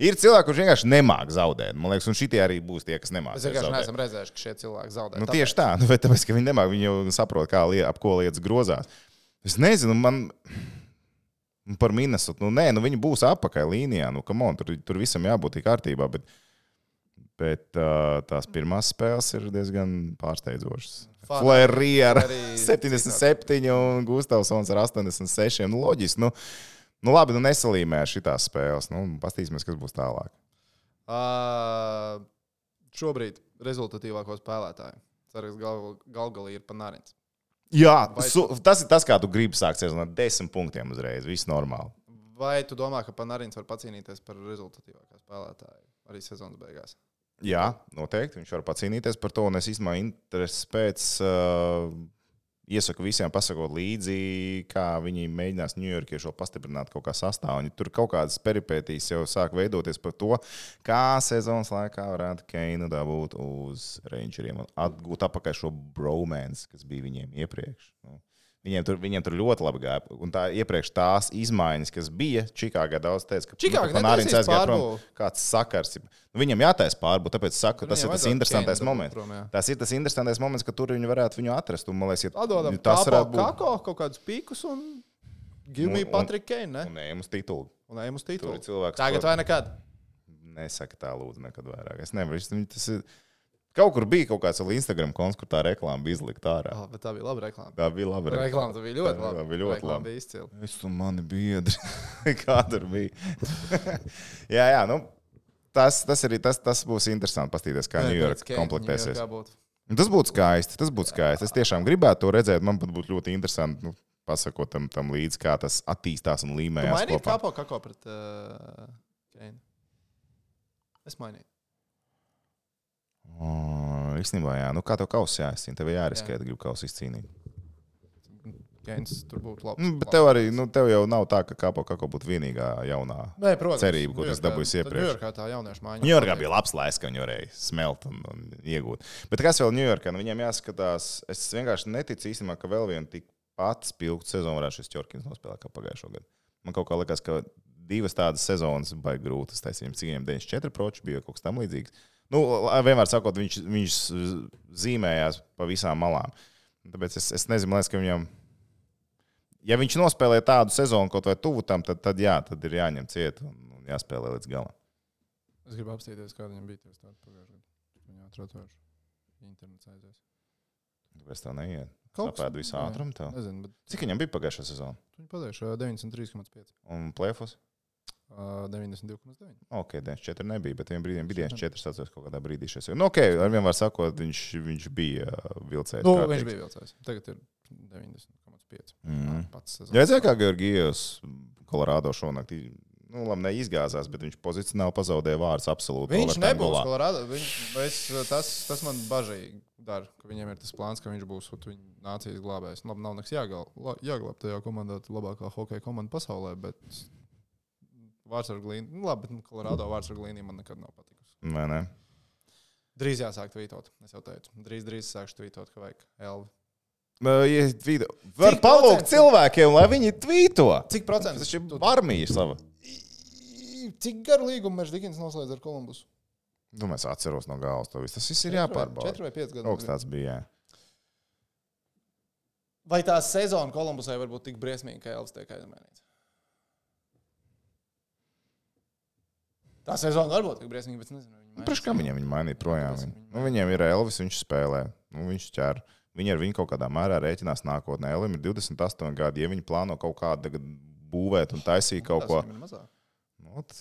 S3: ir cilvēki, kuriem vienkārši nemāķi zaudēt. Man liekas, un šitie arī būs tie, kas nemāķi.
S1: Mēs vienkārši neesam redzējuši, ka šie cilvēki zaudē.
S3: Nu,
S1: Tāpēc-
S3: tieši tā, nu, bet tāpēc, ka viņi nemāķi, viņi jau saprot, kā lie, ap ko lietas grozās. Es nezinu, man nu, par minusu, nu, nē, nu, viņi būs apakā līnijā, nu, kam on, tur, tur visam jābūt tik kārtībā. Bet, bet uh, tās pirmās spēles ir diezgan pārsteidzošas.
S1: Fana-
S3: Flerī ar
S1: Flerī
S3: 77 un Gustavsons ar 86. Nu, loģiski, nu, nu labi, nu nesalīmē šitās spēles. Nu, Pastīsimies, kas būs tālāk.
S1: Ā, Šobrīd rezultatīvāko spēlētāju. Cerams, gal galā ir panāriņš.
S3: Jā,
S1: Vai-
S3: su, tas ir tas, kā tu gribi sākt sezonu ar desmit punktiem uzreiz. Viss normāli.
S1: Vai tu domā, ka panāriņš var pacīnīties par rezultatīvāko spēlētāju arī sezonas beigās?
S3: Jā, noteikti. Viņš var pacīnīties par to. Un es īstenībā interesu pēc. Uh, Iesaku visiem pasakot līdzi, kā viņi mēģinās Ņujorkiešu pastiprināt kaut kā sastāvā. Un Tur kaut kādas peripētīs jau sāk veidoties par to, kā sezonas laikā varētu Keinu dabūt uz Rangeriem un atgūt apakaļ šo bromance, kas bija viņiem iepriekš. Nu, Viņiem tur, viņiem tur ļoti labi gāja. Un tā iepriekš tās izmaiņas, kas bija Čikāgā, daudz teica, ka
S1: Čikāga
S3: nu, Panarin
S1: netaisīs
S3: aizgāja prom.
S1: pārbūvi.
S3: kāds sakars ir. Nu, viņam jātaisa pārbūve, tāpēc saku,
S1: Tur
S3: tas ir
S1: Nu, viņam
S3: tas
S1: vajadzētu
S3: interesantais
S1: Keinu dabūt
S3: moments.
S1: prom, jā.
S3: Tas ir tas interesantais moments, ka tur viņi varētu viņu atrast. Un, man liekas, ja
S1: Atdodam
S3: ja Nu, tas varētu būt
S1: kako, kaut kādus pīkus un give
S3: Un-
S1: me
S3: un-
S1: Patrick Kane. ne?
S3: Un ejam uz Nu, titulu.
S1: Un ejam uz
S3: Tur ir
S1: titulu.
S3: cilvēks.
S1: Tagad
S3: ko-
S1: vai nekad?
S3: Nesaka tā, lūdzu, nekad vairāk. Es nevaru. Es- viņi- Tas ir... Kaut kur bija kaut kāds vēl Instagram konts, kur tā reklāma bija izlikta ārā.
S1: Oh, bet tā bija laba reklāma.
S3: Tā bija laba
S1: Reklāma tā bija ļoti
S3: Tā
S1: laba.
S3: bija ļoti
S1: Reklāma
S3: laba.
S1: bija izcila.
S3: Es un mani biedri. Kā tur bija? jā, jā, nu. Tas, tas arī tas, tas būs interesanti paskatīties, kā
S1: Pēc
S3: Ņujorka
S1: Kane
S3: komplektēsies.
S1: Ņujorkā būtu.
S3: Un Nu, Tas būtu skaisti. Tas būtu skaisti. Es tiešām gribētu to redzēt. Man pat būtu ļoti interesanti nu, pasakot tam, tam līdzi, kā tas attīstās un
S1: Tu
S3: līmējās.
S1: mainīji
S3: kopā.
S1: kāpo kako pret uh, Keinu? Es mainīju.
S3: O, Īstenībā, jā, nu, kā tev kausā jāizcīna, tev jāriskē, ja gribi kausu izcīnīt.
S1: Keins tur būtu labs.
S3: Nu, bet tev arī, nu, tev jau nav tā, ka kāpo kā būtu vienīgā jaunā.
S1: Nē, protams,
S3: cerība, ko tas dabūjis iepriekš.
S1: Ņujorkā tā jauniešu māja.
S3: Ņujorkā bija labs laiks, ka viņi varēja smelt un, un iegūt. Bet kas vēl Ņujorkā? Nu, viņam jāskatās, es vienkārši neticu īstenībā, ka vēl viena tik pati spilgta sezona varētu šis Čorkins nospēlēt kā pagājušā gada. Man kaut kā liekas, ka divas tādas sezonas bija grūtas. Tas viņam cīņām 94 proči bija kaut kas tam līdzīgs. Nu, la- vienmēr sakot, viņš, viņš zīmējās pa visām malām. Tāpēc es, es nezinu, man liekas, ka viņam. Ja viņš nospēlē tādu sezonu kaut vai tuvu tam, tad, tad jā, tad ir jāņem ciet un, un jāspēlē līdz galam.
S1: Es gribu apstīties, kā viņam bija tieši tāda pagājušā gada. Viņu atrotoši. Internets aizies.
S3: Tāpēc tā neiet.
S1: Kaut kas-
S3: Kāpēc visā
S1: jā,
S3: ātrumā tā?
S1: Nezinu, bet
S3: Cik viņam bija pagājušā sezona?
S1: viņi padējuši 93,5.
S3: Un plēfos?
S1: ā, 92,9.
S3: Ok, 94 nebija, bet vienā brīdī bija 94. Atceros, kaut kādā brīdī šis. Nu, ok, ar vienmēr sakot, viņš, viņš bija uh, vilcējis.
S1: Nu, viņš bija vilcējs. Tagad ir 90,5.
S3: Mhm.
S1: Pats sezonas.
S3: Jā, redzēja, kā Georgijos Kolorādo šonakt. i- Nu, labi, neizgāzās, bet viņš pozicionāli pazaudēja vārdus absolūti.
S1: Viņš
S3: overtime
S1: nebūs
S3: golā.
S1: Kolorādo. Viņš, es, tas, tas man bažīgi dara, ka viņiem ir tas plāns, ka viņš būs ot viņu nācijas glābējs. Labi, nav nekas jāgal- la- jāglāb tajā komandā, tā labākā hokeja komanda pasaulē, bet Vārtsburgas līnija, nu, labi, bet nu, Kolorādo Vārtsburgas līnija man nekad nav patikusi.
S3: Vai ne?
S1: Drīz jāsāk tvītot, es jau teicu. Drīz, drīz sākšu tvītot, ka vajag Elvi.
S3: Nu, ja tvīto- Var palūgt
S1: procentu?
S3: cilvēkiem, lai viņi tvīto.
S1: Cik procentu?
S3: Tas ir armija sava.
S1: Cik garu līgumu Mērs Digins noslēdz ar Kolumbusu?
S3: Domāju, es Nu, atceros no galvas to visu. Tas viss ir jāpārbauda.
S1: 4 vai 5
S3: Kaut kas
S1: gadu.
S3: tāds bija. Jā.
S1: Vai tā sezona Kolumbusai var būt tik briesmīga, ka Elvis tiek aizmainīts? Tā sezona varbūt tik briesmīga, bet es nezinu. viņi
S3: Priekš kā viņiem viņa mainīja projām.
S1: Kāpēc
S3: Viņu.
S1: viņi
S3: Nu, viņiem ir Elvis, viņš spēlē. Nu, viņš ķer. Viņi ar viņu kaut kādā mērā rēķinās nākotnē. Elim ir 28 gadi, ja viņi plāno kaut kādu tagad būvēt un taisīt kaut
S1: Tas
S3: ko.
S1: viņam ir mazāk.
S3: Nu, ot,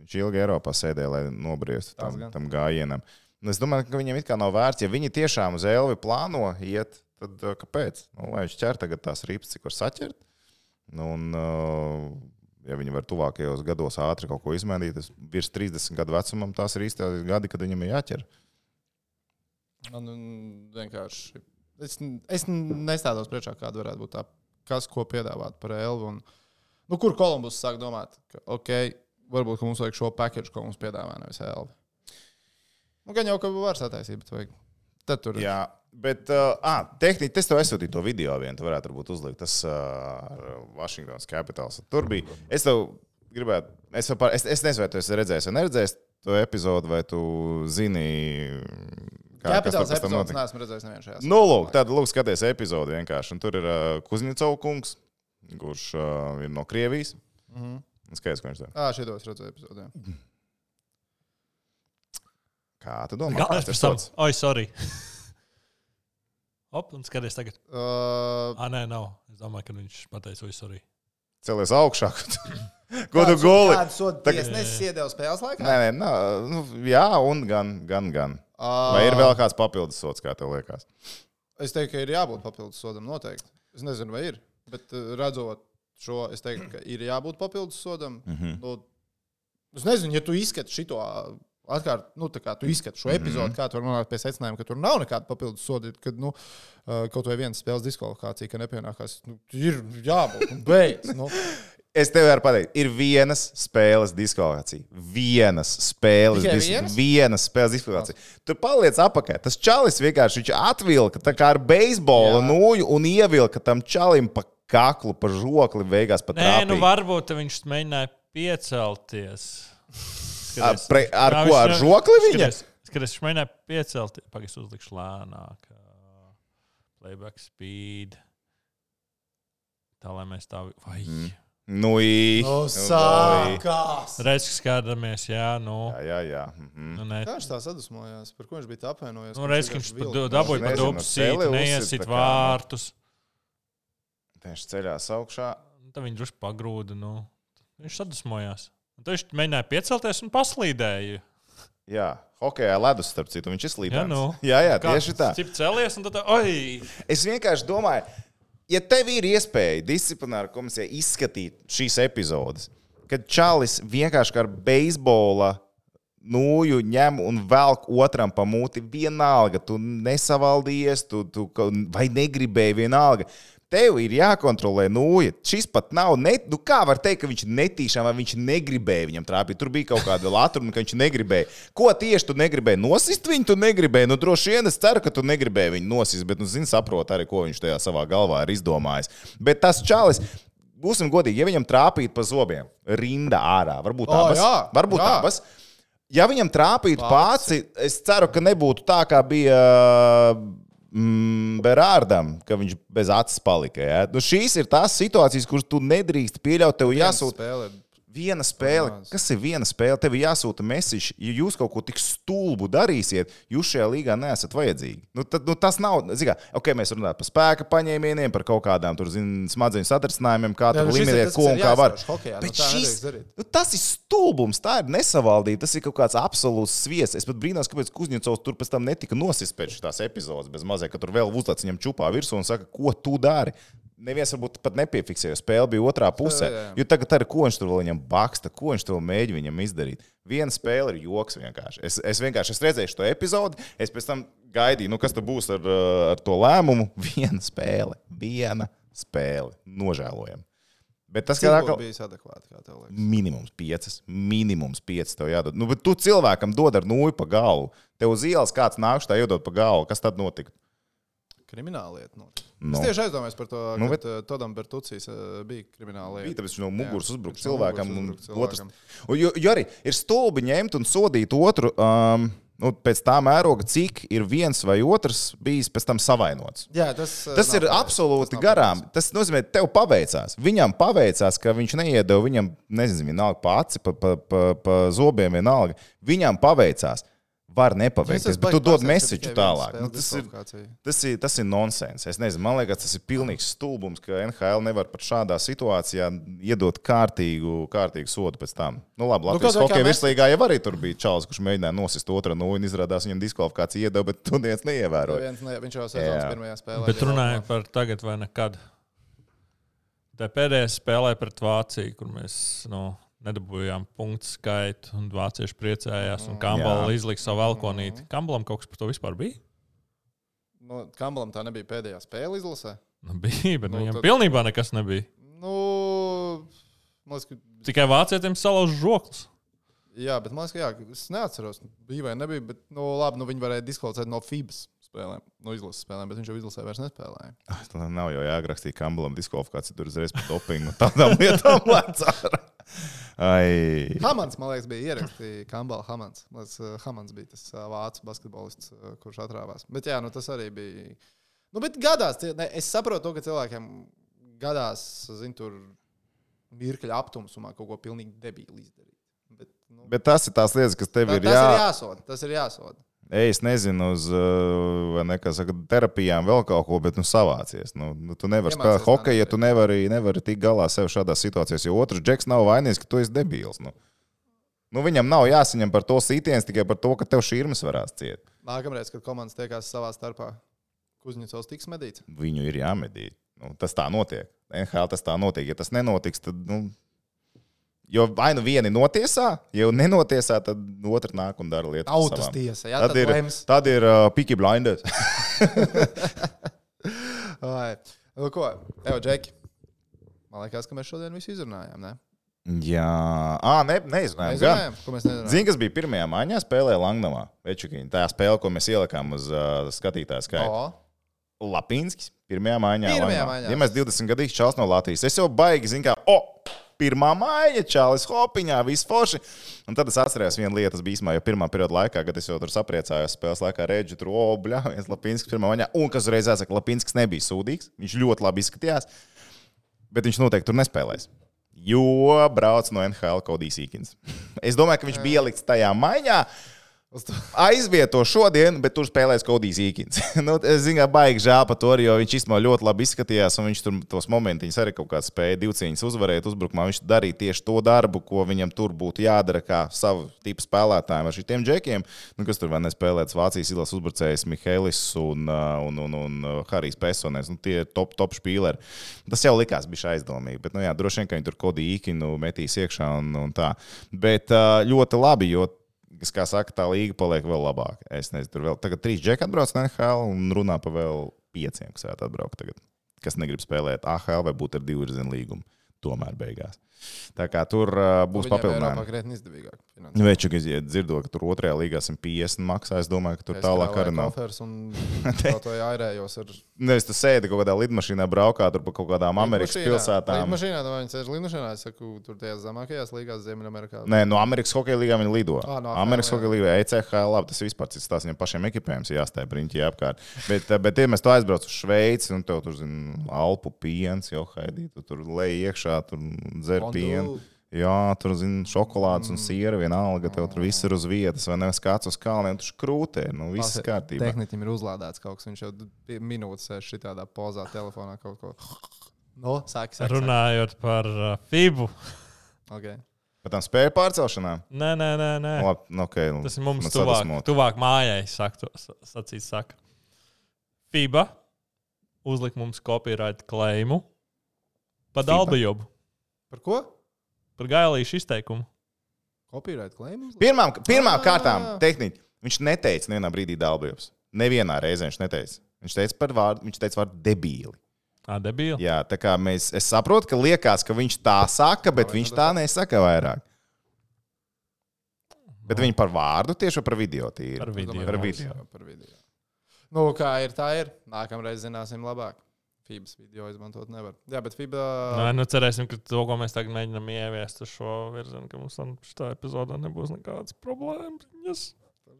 S3: viņš ilgi Eiropā sēdēja, lai nobriestu
S1: Tas
S3: tam,
S1: gan.
S3: tam gājienam. Un es domāju, ka viņiem it kā nav vērts, ja viņi tiešām uz Elvi plāno iet, tad uh, kāpēc? Nu, lai viņš ķer tagad tās rīpas, cik var saķert. Nu, Un, uh, ja viņi var tuvākajos gados ātri kaut ko izmainīt, tad virs 30 gadu vecumam tās ir īstās gadi, kad viņam ir jāķer.
S1: Man mm, vienkārši. Es, n- es n- nestādos priekšā, kāda varētu būt tā, kas ko piedāvāt par Elvu. Un, nu, kur Kolumbus sāk domāt, ka ok, varbūt ka mums vajag šo paketu, ko mums piedāvā nevis Elvu. Nu, gan jau, ka var sataisīt, bet vajag. Tad tur ir.
S3: Jā, bet uh, ah, tehniski tas tev aizsūtīja to video, vien tu varētu varbūt uzlikt. Tas uh, ar Washington's Capitals. Tur bija. Es tev gribētu, es, vēl par, es, es nezinu, vai tu esi redzējis vai neredzējis to epizodu, vai tu zini,
S1: Jā,
S3: kas tur
S1: pēc
S3: pēc tam
S1: tam
S3: notika.
S1: neesmu redzējis nevienu šajā.
S3: Nu, lūk, tad lūk, skaties epizodi vienkārši. Un tur ir uh, Kuznicovs kungs, kurš uh, ir no Krievijas.
S1: Mhm.
S3: Skaidrs, ko viņš dara.
S1: Ah, šitos redzēju epizodē.
S3: Kā tu domā?
S2: Galvenais
S3: kāds ir
S2: par savu.
S3: sots?
S2: Oi, sorry. Op, un skaties tagad.
S1: Uh,
S2: Ah, nē, nav. Es domāju, ka viņš pateica, oi, sorry.
S3: Celies augšā. Ko tu goli?
S1: Tagad es iedēju spēles laikā.
S3: Nē, nē, nā, nu, jā, un gan, gan, gan.
S1: Ā,
S3: Vai ir vēl kāds papildus sots, kā tev liekas?
S1: Es teiktu, ka ir jābūt papildus sodam noteikti. Es nezinu, vai ir. Bet eh, redzot šo, es teiktu, ka ir jābūt papildus sodam. Mm
S3: Mhm.
S1: -hmm. nu, es nezinu, ja tu izskati šo. Atkārt, nu, tā kā tu izskati šo
S3: Mhm.
S1: epizodi, mm -hmm. kā tu vari nonākt pie secinājuma, ka tur nav nekāda papildus soda, kad nu, eh, kaut vai viena spēles diskvalifikācija, ka nepienākās. Nu, ir jābūt. un Beidz. Nu.
S3: Es tev varu pateikt, ir vienas spēles diskvalifikācija. Vienas spēles,
S1: Tikai
S3: dis
S1: vienas?
S3: vienas spēles diskvalifikācija. Tu paliec apakā. Tas čalis vienkārši viņš atvilka tā kā ar beisbolu nūju un ievilka tam čalim pa kaklu, pa žokli, beigās pat
S2: Nē, nu varbūt viņš mēģināja piecelties.
S3: Ar,
S2: Skaties.
S3: pre, ar
S2: Kā
S3: ko?
S2: viņš
S3: Ar
S2: ne-
S3: žokli viņa?
S2: Skaties, skaties, viņš mēģināja piecelties. Pagaidzi, uzlikšu lēnāk. ā, Playback speed. Tā lai mēs tā. Vai. Mm.
S3: Nu, i.
S1: Nu,
S3: Nu, i.
S1: sākās!
S2: Reiz skatāmies, jā, nu.
S3: Jā, jā, jā. Mhm.
S2: nu ne,
S1: Kā viņš tā sadusmojās? Par ko viņš bija tā apvainojies?
S2: nu, reiz, kad viņš pa du-
S3: Es
S2: dabūja pa
S3: nezinu,
S2: dubsīti,
S3: celi uzsit
S2: neiesit
S3: tā kā, nu.
S2: vārtus.
S3: Viņš ceļās augšā.
S2: Un Nu, Tad viņi drusku pagrūda. Nu. Viņš sadusmojās. Un Tad viņš mēģināja piecelties un paslīdēja.
S3: Jā, hokeja ledus, starp citu, viņš ir
S2: Jā,
S3: slīdams.
S2: nu.
S3: jā, jā tieši tā.
S2: Cip celies, un tad, oi,
S3: Es vienkārši domāju, ja tev ir iespēja disciplināra komisijā izskatīt šīs epizodes, kad Čalis vienkārši kā ar beisbola nūju ņem un velk otram pa mūti, vienalga, tu nesavaldījies, tu, tu ka- vai negribēji vienalga. Tev ir jākontrolē nūja. Šis pat nav. Ne, nu kā var teikt, ka viņš netīšām vai viņš negribēja viņam trāpīt? Tur bija kaut kāda latruna, ka viņš negribēja. Ko tieši tu negribēji? Nosist viņu, tu negribēji. Nu, droši vien es ceru, ka tu negribēji viņu nosist, bet, nu, zini, saprot arī, ko viņš tajā savā galvā ir izdomājis. Bet tas čalis. Būsim godīgi, ja viņam trāpīt pa zobiem, rinda ārā, varbūt
S1: Ā,
S3: abas,
S1: jā,
S3: varbūt
S1: jā.
S3: abas, Ja viņam trāpītu pāri, es ceru, ka nebūtu tā, kā bija mm, Berārdam, ka viņš bez acis palika. Ja? Nu, šīs ir tās situācijas, kuras tu nedrīkst pieļaut. Tev
S1: Nu,
S3: jāsūta
S1: Spēlē.
S3: viena spēle.
S1: Maz.
S3: Kas ir viena spēle? Tev jāsūta mesiķis. Ja jūs kaut ko tik stulbu darīsiet, jūs šajā līgā neesat vajadzīgi. Nu, tad, nu, tas nav. zini Kā, okay, mēs runājam par spēka paņēmieniem, par kaut kādām tur, zin, smadzeņu satricinājumiem, kā tur limitēt, ko un kā var. Bet
S1: Bet
S3: šis, nu, tas ir stulbums, tā ir nesavaldība. Tas ir kaut kāds absolūts sviests. Es pat brīnos, kāpēc Kuzņicovs tur pēc tam netika nosists pēc šīs epizodes. Bez mazliet, ka tur vēl uzlaic viņam čūpā virsū un saka, ko tu dari. Neviens varbūt pat nepiefiksēja, jo spēle bija otrā pusē.
S1: jā, jā.
S3: Jo tagad arī ko viņš tur vēl viņam baksta, ko viņš to mēģina viņam izdarīt. Viena spēle ir joks vienkārši. Es, es vienkārši es redzēju šo epizodi, es pēc tam gaidīju, nu, kas tur būs ar, uh, ar to lēmumu. Viena spēle, viena spēle. Nožēlojam. Bet tas,
S1: Cik
S3: ka
S1: būtu bijis adekvāti, kā tev liekas?
S3: Minimums piecas. Minimums piecas tev jādod. Nu, bet tu cilvēkam dod ar nūju pa galu. Tev uz ielas kāds nāks, tā jādod pa galu. Kas tad notika?
S1: Krimināla lieta. notika.
S3: Nu.
S1: Es tieši aizdomājos par to,
S3: Nu,
S1: nu,
S3: bet-
S1: bet... ka Todam Bertucīs eh, bija krimināla
S3: Bija
S1: lieta.
S3: tāpēc, ka viņš no muguras
S1: Jā,
S3: uzbruka
S1: viņš no
S3: cilvēkam.
S1: muguras
S3: un
S1: uzbruka cilvēkam.
S3: otrs- Un Jo, jo arī ir stulbi ņemt un sodīt otru um, nu, pēc tā mēroga, cik ir viens vai otrs bijis pēc tam savainots.
S1: Jā, tas, eh,
S3: Tas
S1: nav
S3: ir
S1: pareizi.
S3: absolūti
S1: nav
S3: garām. Tas nozīmē, ka tev paveicās. Viņam paveicās, ka viņš neiedeva viņam, nezinu, vienalga pa aci, pa, pa, pa, pa zobiem, vienalga. Viņam paveicās. Var
S1: Es
S3: nepaveikties,
S1: baigi
S3: bet tu dod
S1: pārsteigts, ka
S3: mēsīču
S1: tikai
S3: tālāk.
S1: viena
S3: Nu,
S1: spēle
S3: tas, ir,
S1: diskvalifikācija.
S3: tas, ir, tas ir nonsens. Es nezinu, man liekas, tas ir pilnīgs stulbums, ka NHL nevar pat šādā situācijā iedot kārtīgu, kārtīgu sodu pēc tam. Nu, labi,
S1: Nu, kaut
S3: Latvijas nu,
S1: vai kā
S3: hokeja
S1: mēs-
S3: virslīgā jau arī tur bija čalis, kurš mēģināja nosist otru no un izrādās viņam diskvalifikācija iedeva, bet tu neviens neievēroja.
S1: Neviens ne- Viņš jau sezonas
S3: Jā.
S1: pirmajā spēlē.
S2: Bet
S1: bija
S2: runājot
S1: laukumā.
S2: par tagad vai nekad. Tā pēdējā spēlē pret Vāciju, kur mēs nu, nedabūjām punktu skaitu, un vācieši priecājās, un Kambala
S3: Mm, Jā. Mm.
S2: izlika savu elkonīti. Kambalam kaut kas par to vispār bija?
S1: Nu, Kambalam tā nebija pēdējā spēle izlasē.
S2: Nu, bija, bet
S1: Nu,
S2: nu, viņam
S1: tad-
S2: tad... pilnībā nekas nebija.
S1: Nu, man liekas, ka,
S2: Tikai vācietiem salauž žoklis.
S1: jā, bet man liekas, ka jā, es neatceros, bija vai nebija. Bet, nu, labi, nu, viņi varēja diskvalificēt no FIBS spēlēm, no izlases spēlēm, bet viņš jau izlasē vairs nespēlēja.
S3: Tā nav jau jāgrakstīja Kambalam diskvalifikācija, tur uzreiz par dopingu un tādām lietām lēcā. Ai.
S1: Hamans, man liekas, bija ierakstījis Kambala Hamans. Man liekas, eh, Hamans bija tas eh, vācu basketbolists, eh, kurš atrāvās. Bet jā, nu, tas arī bija. Nu, bet gadās, tie- ne, es saprotu, to, ka cilvēkiem gadās, zinu, tur mirkļa aptumsumā kaut ko pilnīgi debīli izdarīt. Bet, nu,
S3: Bet tas ir tās lietas, kas tev
S1: tā,
S3: ir
S1: tas jā... ir
S3: jā.
S1: jāsoda. Tas ir jāsoda.
S3: Ej, es nezinu, uz uh, vai ne, kā saka, terapijām vēl kaut ko, bet nu savācies. Nu, nu, tu nevari
S1: Iemācies tā
S3: spēlēt hokeju, ja
S1: nedarīt.
S3: tu nevari, nevari tikt galā sev šādās situācijās, jo otrs džeks nav vainīgs, ka tu esi debils. Nu. Nu, viņam nav jāsaņem par to sītiens, tikai par to, ka tev šī irmas varētu ciet.
S1: Nākamreiz, kad komandas tiekās savā starpā, Kuzņicovs tiks medīts.
S3: Viņu ir jāmedī. Nu, tas tā notiek. NHL tas tā notiek. Ja tas nenotiks, tad. Nu, jo vai nu vieni notiesā, ja jau nenotiesā, tad otrs nāk un dara lietas. pa
S1: Tautas
S3: savām.
S1: tiesa, jā,
S3: Tad ir,
S1: lems.
S3: tad ir uh, piki blinders.
S1: Vai. Nu, ko, tev, Džeki? Man liekas, ka mēs šodien visu izrunājām. Ne?
S3: Jā, à, ne, neizrunājām. gan.
S1: Nezinājām, ko mēs nezinājām.
S3: Zini, kas bija pirmajā maiņā spēlē Langnamā? Večikiņa. Tā spēle, ko mēs ielikām uz uh, skatītāju skaitu.
S1: O,
S3: Lapīnskis pirmajā maiņā.
S1: Pirmajā
S3: Laimā.
S1: maiņā.
S3: Ja mēs 20 gadus čālis no Latvijas, es jau baigi zinu, kā, o, pirmā maiņa, čālis hopiņā, viss forši. Un tad es atcerējos vienu lietu, tas bija īstenībā jau pirmā perioda laikā, kad es jau tur sapriecājos spēles laikā, redzu, tur, o, bļā, viens Lapīnskis pirmā maiņā. Un kas uzreiz jāsaka, Lapīnskis nebija sūdīgs, viņš ļoti labi izskatījās, bet viņš noteikti tur nespēlēs. Jo brauc no NHL Kodijs Īkins. Es domāju, ka viņš bija ielikts tajā maiņā,
S1: uz to-
S3: aizvieto šodien, bet tur spēlēs Kodijs Īkins. nu, es zinu, kā baigi žēl par to, arī, jo viņš īstenībā ļoti labi izskatījās, un viņš tur tos momentiņus arī kaut kā spēja divcīņas uzvarēt uzbrukumā. Viņš darīja tieši to darbu, ko viņam tur būtu jādara kā savu tipu spēlētājiem ar šiem džekiem, nu, kas tur vēl nespēlēts Vācijas ilas uzbrucējs Mihēlis un, uh, un, un, un uh, Harijs Personēs. Nu, tie ir top, top spīleri. Tas jau likās bija aizdomīgi, bet nu, jā, droši vien, ka viņi tur Kodiju Īkinu metīs iekšā un, un tā. Bet uh, ļoti labi, jo kas, kā saka, tā līga paliek vēl labāka. Es nezinu, tur vēl tagad trīs džekļi atbrauc no NHL un runā par vēl pieciem, kas varētu atbraukt tagad. Kas negrib spēlēt AHL vai būt ar divu virzinu līgumu. Tomēr beigās. Tā kā tur uh, būs
S1: Viņiem Eiropā
S3: papildinājumi. Nu,
S1: krietni izdevīgāk. finansiāli.
S3: Veču, kas dzirdot, ka tur otrajā līgā 150 maksā, es domāju, ka tur
S1: Es
S3: tālāk
S1: krāvēju
S3: arī nav.
S1: koferus Un kaut ko ārējos ar
S3: Nevis tu sēdi kaut kādā lidmašīnā, braukā tur pa kaut kādām Amerikas
S1: Lidmašīnā.
S3: pilsētām.
S1: Lidmašīnā, tā viņi sēž lidmašīnā, es saku, tur tajās zemākajās līgās Ziemeļamerikā.
S3: Nē, no Amerikas hokeja līnijām viņi lido.
S1: Ā, no AHL,
S3: Amerikas
S1: jā.
S3: hokeja E līnijā ECH, labi, tas vispār cits tās viņiem pašiem ekipējums jāstāj brīņķī apkārt. Bet, eh, bet ja mēs to aizbraucam uz Šveici, un tev tur, zinu, Alpu piens, jau haidī, tu tur lej iekšā, tur dzer pienu. Jā, tur, zinu, šokolādes
S2: Mm.
S3: un siera vienalga, tev tur viss ir uz vietas, vai nevis kāds uz kalniem, tur škrūtē, nu viss kārtībā.
S1: Tehnikam ir uzlādēts kaut kas, viņš jau pie- minūtes sēž šitādā pozā, telefonā kaut ko. Nu, No, sāk, sāk,
S2: Runājot par uh, FIBU.
S1: Sāk. Okay.
S3: Par tām spēju pārcelšanām?
S2: Nē, nē, nē, nē.
S3: Labi, nu, okay, nu,
S2: Tas ir mums
S3: man
S2: tuvāk,
S3: sadusmo.
S2: tuvāk mājai, sakto, sacīt, saka. FIBA uzlika mums copyright klaimu par
S3: FIBA.
S2: dalbajobu,
S1: Par ko?
S2: par gailīšu izteikumu.
S1: Copyright claim?
S3: Pirmām, pirmām
S1: Ā.
S3: kārtām, tehniski viņš neteica nevienā brīdī dārbības. Nevienā reizē viņš neteica. Viņš teica par vārdu, viņš teica vārdu debīli.
S2: Tā debīla.
S3: Jā, tā kā mēs, es saprotu, ka liekas, ka viņš tā saka, bet viņš tā nesaka vairāk. Bet viņi par vārdu tieši vai par video
S2: Par
S3: tīri.
S2: video.
S3: Par video.
S1: Par video. Nu, kā ir, tā ir. Nākamreiz zināsim labāk. Fibas video izmantot nevar. Jā, bet
S2: Nē,
S1: Fiba.
S2: nu cerēsim, ka to, ko mēs tagad mēģinām ieviest uz šo virzienu, ka mums šajā epizodē nebūs nekādas problēmas. Yes.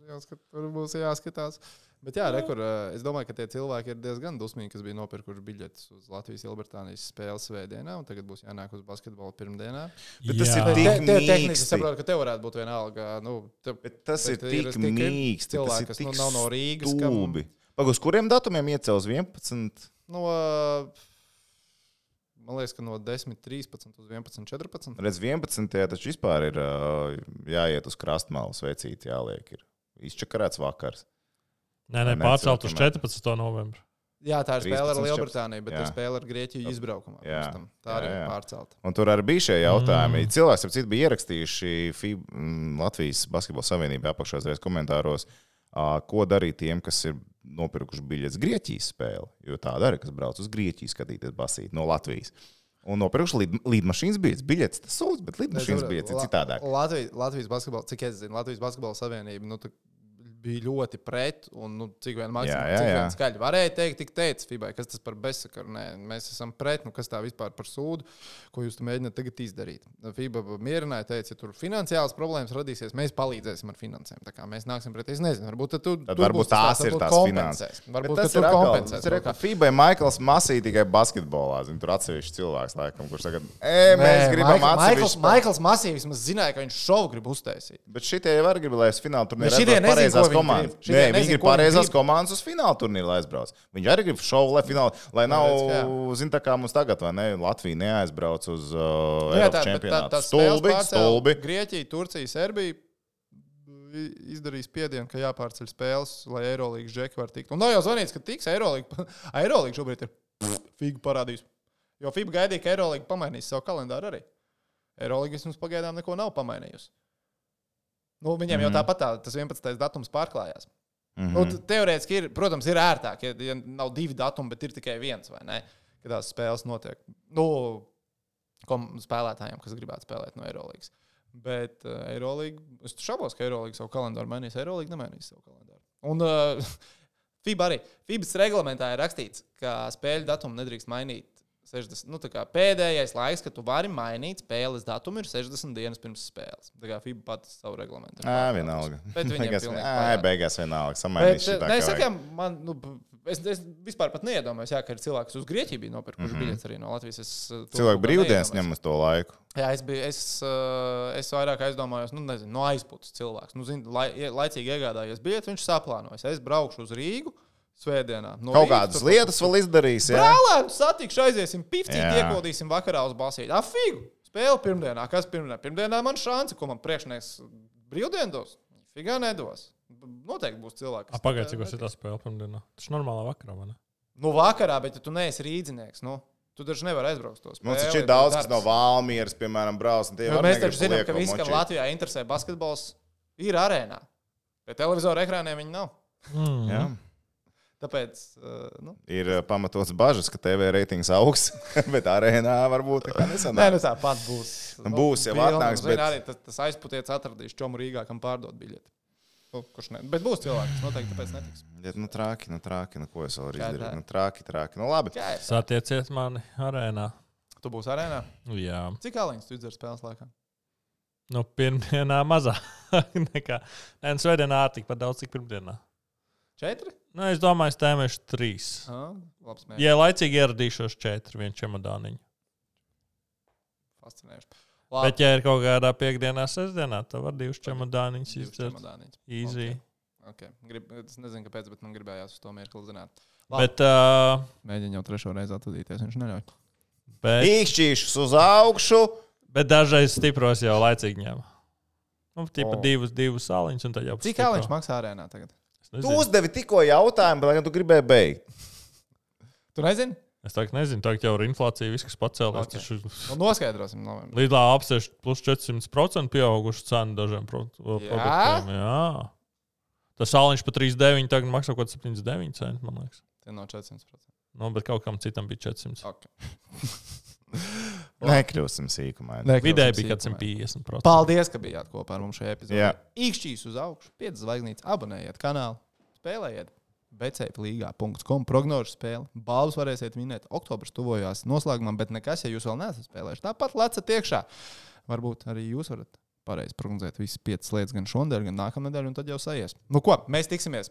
S1: jāskat, tur būs jāskatās. Bet jā, rekur, es domāju, ka tie cilvēki ir diezgan dusmīgi, kas bija nopirkuši biļetes uz Latvijas Lielbritānijas spēles svētdienā, un tagad būs jānāk uz basketbolu pirmdienā.
S3: Bet tas ir
S2: Jā.
S1: Te,
S3: tik-
S1: te, tehniski
S3: mīksti.
S1: saprotu, ka tev varētu būt viena alga. Nu, te,
S3: Bet tas
S1: Bet
S3: bet
S1: ir
S3: ir tik
S1: tikai
S3: mīksts.
S1: cilvēki,
S3: tas
S1: kas
S3: ir
S1: nu
S3: tik
S1: nav no Rīgas, kam-
S3: Stūbi. Pag, uz kuriem datumiem iecels 11?
S1: no, man liekas, ka no 10, 13 līdz 11, 14.
S3: Redz, 11. taču vispār ir ā, jāiet uz krastmālu sveicīt, jāliek. Ir. Izčakarēts vakars.
S2: Nē, nē,
S3: Neceru,
S2: pārcelt uz
S3: tomēr.
S2: 14. novembri.
S1: Jā, tā ir spēle ar
S3: 13,
S1: Lielbritāniju, bet tā ir
S3: jā.
S1: spēle ar Grieķiju izbraukumā.
S3: Jā.
S1: pirms tam. Tā arī
S3: Jā,
S1: ir
S3: jā.
S1: pārcelta.
S3: Un tur arī bija šie jautājumi. Mm. Cilvēks, ap citu, bija ierakstījuši FIB, mm, Latvijas Basketbola Savienībā apakšējos komentāros, ā, ko darīt tiem, kas ir nopirkuši biļetes Grieķijas spēli. Jo tāda arī, kas brauc uz Grieķiju skatīties basīt no Latvijas. Un nopirkuši lid, lidmašīnas biļetes. Biļetes tas sūdz, bet lidmašīnas biļetes ir citādāk.
S1: Latvijas, Latvijas basketbola, cik es zinu, Latvijas basketbola savienība nu, tā bija ļoti pret, un nu, cik vien maksimāli,
S3: jā,
S1: cik
S3: jā.
S1: vien skaļi varēja teikt, tik teica Fibai, kas tas par bezsakaru. Nē, mēs esam pret, nu kas tā vispār par sūdu, ko jūs te mēģināt tagad izdarīt. Fiba mierināja, teica, ja tur finansiāls problēmas radīsies, mēs palīdzēsim ar finansēm. Tā kā mēs nāksim pret, es nezinu, varbūt tad tu,
S3: Tad
S1: tur
S3: varbūt
S1: būs tas
S3: tās
S1: tā,
S3: ir
S1: varbūt
S3: tās
S1: kompensēs.
S3: finanses.
S1: Varbūt
S3: Bet
S1: tas ir kompensēts.
S3: Tas ir
S1: kaut kā.
S3: FIBA Maikls Masī tikai basketbolā. Zin, tur atsevišķi cilvēks, laikam, kurš tagad, e, mēs gribam
S1: Maikls,
S3: atsevišķi. spēlēt."
S1: Maikls Masīvs zināja, ka viņš šovu grib uztaisīt.
S3: Bet šitie jau arī grib, lai es fināla turnīrā
S1: Bet šitie
S3: aizbraucu
S1: nezin, ko
S3: pareizās
S1: viņi
S3: komandas.
S1: grib. Šitie
S3: Nē,
S1: nezin,
S3: viņi ir
S1: ko viņi
S3: pareizās
S1: grib.
S3: komandas uz fināla turnīru aizbrauc. Viņi arī grib šovu, lai fināla, lai nav,
S1: Nu, redz, ka
S3: zin, tā kā mums tagad, vai ne, Latvija neaizbrauc uz uh,
S1: Nu jā, tā- bet
S3: Eiropas
S1: tā-
S3: čempionātu.
S1: tās spēles
S3: Stulbi,
S1: pārcēla
S3: stulbi.
S1: Grieķija, Turcija, Serbija i- izdarīs spiedienu, ka jāpārceļ spēles, lai Eirolandes žeki var tikt. Un nav jau zvanīts, ka tiks Eirolandes. Eirolandes šobrīd ir figu parādījis. Jo FIBA gaidīja, ka Eirolandes pamainīs savu kalendāru arī. Eirolandes mums pagaidām neko nav pamainījusi. Nu, viņiem mm. jau
S3: Mhm.
S1: tāpat tā, tas 11. datums pārklājās. Nu,
S3: Mhm.
S1: t- teorētiski, ir, protams, ir ērtāk, ja, ja nav divi datumi, bet ir tikai viens, vai ne? Kad tās spēles notiek. Nu, kom, spēlētājiem, kas gribētu spēlēt no Eirolandes. Bet uh, Eirolanda, es šaubos, ka Eirolanda savu kalendāru mainīs. Eirolanda nemainīs savu kalendāru. Un uh, FIBA arī. FIBAS reglamentā ir rakstīts, ka spēļu datumu nedrīkst mainīt. 60, nu, tā kā pēdējais laiks, kad tu vari mainīt spēles datumu, ir 60 dienas pirms spēles. Tā kā FIBA pati savu reglamentu. ir
S3: Ā,
S1: pārkāpusi.
S3: vienalga.
S1: Bet viņiem
S3: Beigās-
S1: pilnīgi
S3: Ā,
S1: pārāk.
S3: beigās vienalga.
S1: Bet,
S3: Samainīs šitā.
S1: nē, es
S3: kā
S1: saku, man, nu, b- es, es vispār pat neiedomājos, jā, ka ir cilvēks, kas uz Grieķiju bija nopirkuši mm -hmm. biļetes arī no Latvijas. Es, uh, to
S3: Cilvēki
S1: pat
S3: Mhm. brīvdienas
S1: neiedomājos.
S3: ņem uz to laiku.
S1: Jā, es biju, es, uh, es vairāk aizdomājos, nu, nezinu, no aizpūtas cilvēks. Nu, zin, lai, ie- laicīgi iegādājies biļeti, viņš saplānojas. Es braukšu uz Rīgu svētdienā. No
S3: Kaut
S1: Rīgas
S3: kādas
S1: tur-
S3: lietas vēl izdarīs. jā?
S1: Brālēnu satikšu, aiziesim, pifcīt,
S3: Jā.
S1: iekodīsim vakarā uz basīti. Afīgu! Spēle pirmdienā, kas pirmdienā? Pirmdienā man šāns, ko man priekšnieks brīvdien dos. Figā nedos. B- Noteikti būs cilvēki. kas-
S2: Pagaidiet, cik tas ir tā spēle pirmdienā. Tas ir normālā vakarā, vai ne?
S1: Nu, vakarā, bet ja tu neesi rīznieks, nu, tu taču nevari aizbraukt uz to spēli.
S3: Mums Nu, taču ir
S1: tev
S3: daudz, kas
S1: darbs.
S3: no Valmieras, piemēram, brauc. un tie
S1: Jo
S3: arī
S1: Mēs
S3: negrib
S1: taču zinām,
S3: lieko
S1: ka visi, kam
S3: močīt.
S1: Latvijā interesē basketbols, ir arēnā. Bet televizora ekrāniem viņi nav.
S2: Mm.
S3: Jā.
S1: Tāpēc, eh, nu,
S3: ir uh, pamatots bažas, ka TV reitings augs, bet arēnā varbūt tā kā
S1: nē,
S3: nesanāk.
S1: nu tāpat būs.
S3: Nu, būs, jau
S1: Pilna,
S3: atnāks,
S1: zini,
S3: bet-
S1: arī tas, tas aizputietis atradīs čomu Rīgā, kam pārdot biļeti. Nu, Kurš ne? Bet būs cilvēks, noteikti tāpēc netiks.
S3: Ja, nu, trāki, nu, trāki, nu, ko es vēl varu
S1: Jā,
S3: izdarīt?
S1: tā.
S3: Nu, trāki, trāki. Nu, labi.
S1: Jā, es-
S2: Satieciet mani arēnā.
S1: tu būsi arēnā.
S2: Nu, Jā,
S1: Cik aliņas tu izdzer spēles laikā?
S2: nu, pirmdienā mazāk nekā. Nē, nu, svētdienā arī tikpat daudz, cik pirmdienā.
S1: Četri?
S2: Nu, es domāju, es tēmēšu trīs.
S1: Ah, labs mērķis.
S2: Ja laicīgi ieradīšos četri, viens čemodāniņš.
S1: Fascinējuši. Labi.
S2: Bet, ja ir kaut kādā piekdienā, sestdienā, tad var divus čemodāniņus
S1: Divas
S2: izdarīt.
S1: čemodāniņas.
S2: Easy.
S1: Ok. Okay. Grib, es nezinu, kāpēc, bet man gribējās uz to mirkli zināt. Labi.
S2: Bet, uh,
S1: Mēģinu jau trešo reizi atvadīties. Viņš neļauj.
S2: bet,
S3: Īkšķīšus uz augšu.
S2: bet dažreiz stipros jau laicīgi ņem. Nu,
S1: O.
S2: tīpa oh. divus, divus sāliņus, un tad jau
S1: Cik tālu viņš maksā arēnā tagad?
S3: Tu
S2: maksā?
S3: uzdevi tikko jautājumu, bet tagad tu gribēji beigt.
S1: Tu nezini?
S2: Es tā nezinu, tagad jau ir inflācija, viss, kas pacēlās.
S1: Ok.
S2: Okay.
S1: Nu, noskaidrosim. No,
S2: Lidlā apsevišķi plus 400% pieauguši cena dažiem pro
S1: Jā?
S2: produktiem. Jā. Tas sāliņš pa 3,9 tagad maksā kaut kāds 7,9 centi, man liekas.
S1: tie no 400%.
S2: Nu, bet kaut kam citam bija 400.
S1: Okay.
S3: Nekļūsim sīkumaini.
S2: Vidēji bija kaut kāds 150%.
S1: Paldies, ka bijāt kopā ar mums šajā epizodē.
S3: Jā.
S1: Īkšķīs uz augšu, 5 zvaigznītes, abonējiet kanālu, spēlējiet. Becēplīgā.com prognožu spēli. Balvas varēsiet minēt. Oktobris tuvojās noslēgumam, bet nekas, ja jūs vēl neesat spēlējuši. Tāpat lecat iekšā. Varbūt arī jūs varat pareizi prognozēt visas piecas lietas, gan šonadēļ, gan nākamnedēļ, un tad jau sajies. Nu, ko mēs tiksimies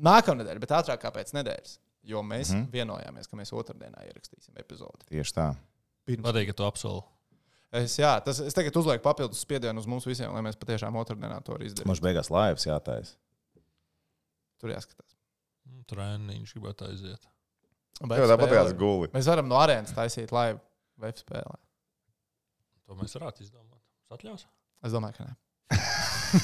S1: nākamnedēļ, bet ātrāk kā pēc nedēļas. Jo mēs mm
S3: Mhm.
S1: -hmm. vienojāmies, ka mēs otrdienā ierakstīsim epizodi.
S3: Tieši tā.
S1: Pirms
S2: Patīk, ka tu apsoli.
S1: Es, jā, tas, es tagad uzlieku papildus spiedienu uz mums visiem, lai mēs patiešām otrdienā to arī izdarītu.
S3: Mums beigās laivas jātais.
S1: Tur jāskatās.
S2: Nu, Treniņš gribētu aiziet.
S1: Bet
S3: Tev tāpat
S1: spēlē-
S3: tās guli.
S1: Mēs varam no arēnas taisīt laivu vai spēlē.
S2: To mēs varētu izdomāt. Tas atļaus.
S1: Es domāju, ka nē.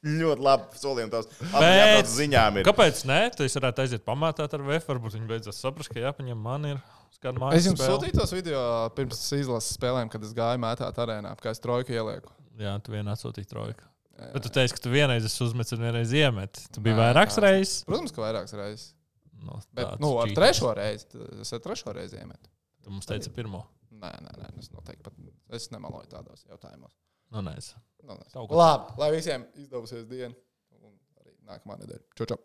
S3: Ļoti labi solījumi tās
S2: Bet-
S3: apgādes ziņām ir.
S2: Kāpēc nē? Tu esi varētu aiziet pamētāt ar VF. Varbūt viņi beidzot saprast, ka jāpaņem man ir. Skatu mājas
S1: Es jums
S2: spēli.
S1: sūtīju tos video pirms izlases spēlēm, kad es gāju mētāt arēnā, kā es trojku ielieku.
S2: Jā, tu vienā atsūtīji trojku.
S1: Jā.
S2: Bet tu teici, ka tu vienreiz esi uzmetis un vienreiz iemet. Tu biji
S1: Nē,
S2: vairākas
S1: tā.
S2: reizes.
S1: Protams, ka vairākas reizes.
S2: Nu,
S1: Bet,
S2: tāds
S1: nu, ar
S2: cheaters.
S1: trešo reizi. t- Es ar trešo reizi iemetu.
S2: Tu mums teici pirmo.
S1: Nē, nē, nē, es noteikti pat. Es nemaloju tādos jautājumos.
S2: Nu, nē, es.
S1: Nu, nē.
S2: Kaut kā.
S1: Labi, lai visiem izdevusies diena. Un arī nākamā nedēļa. Čau, čau!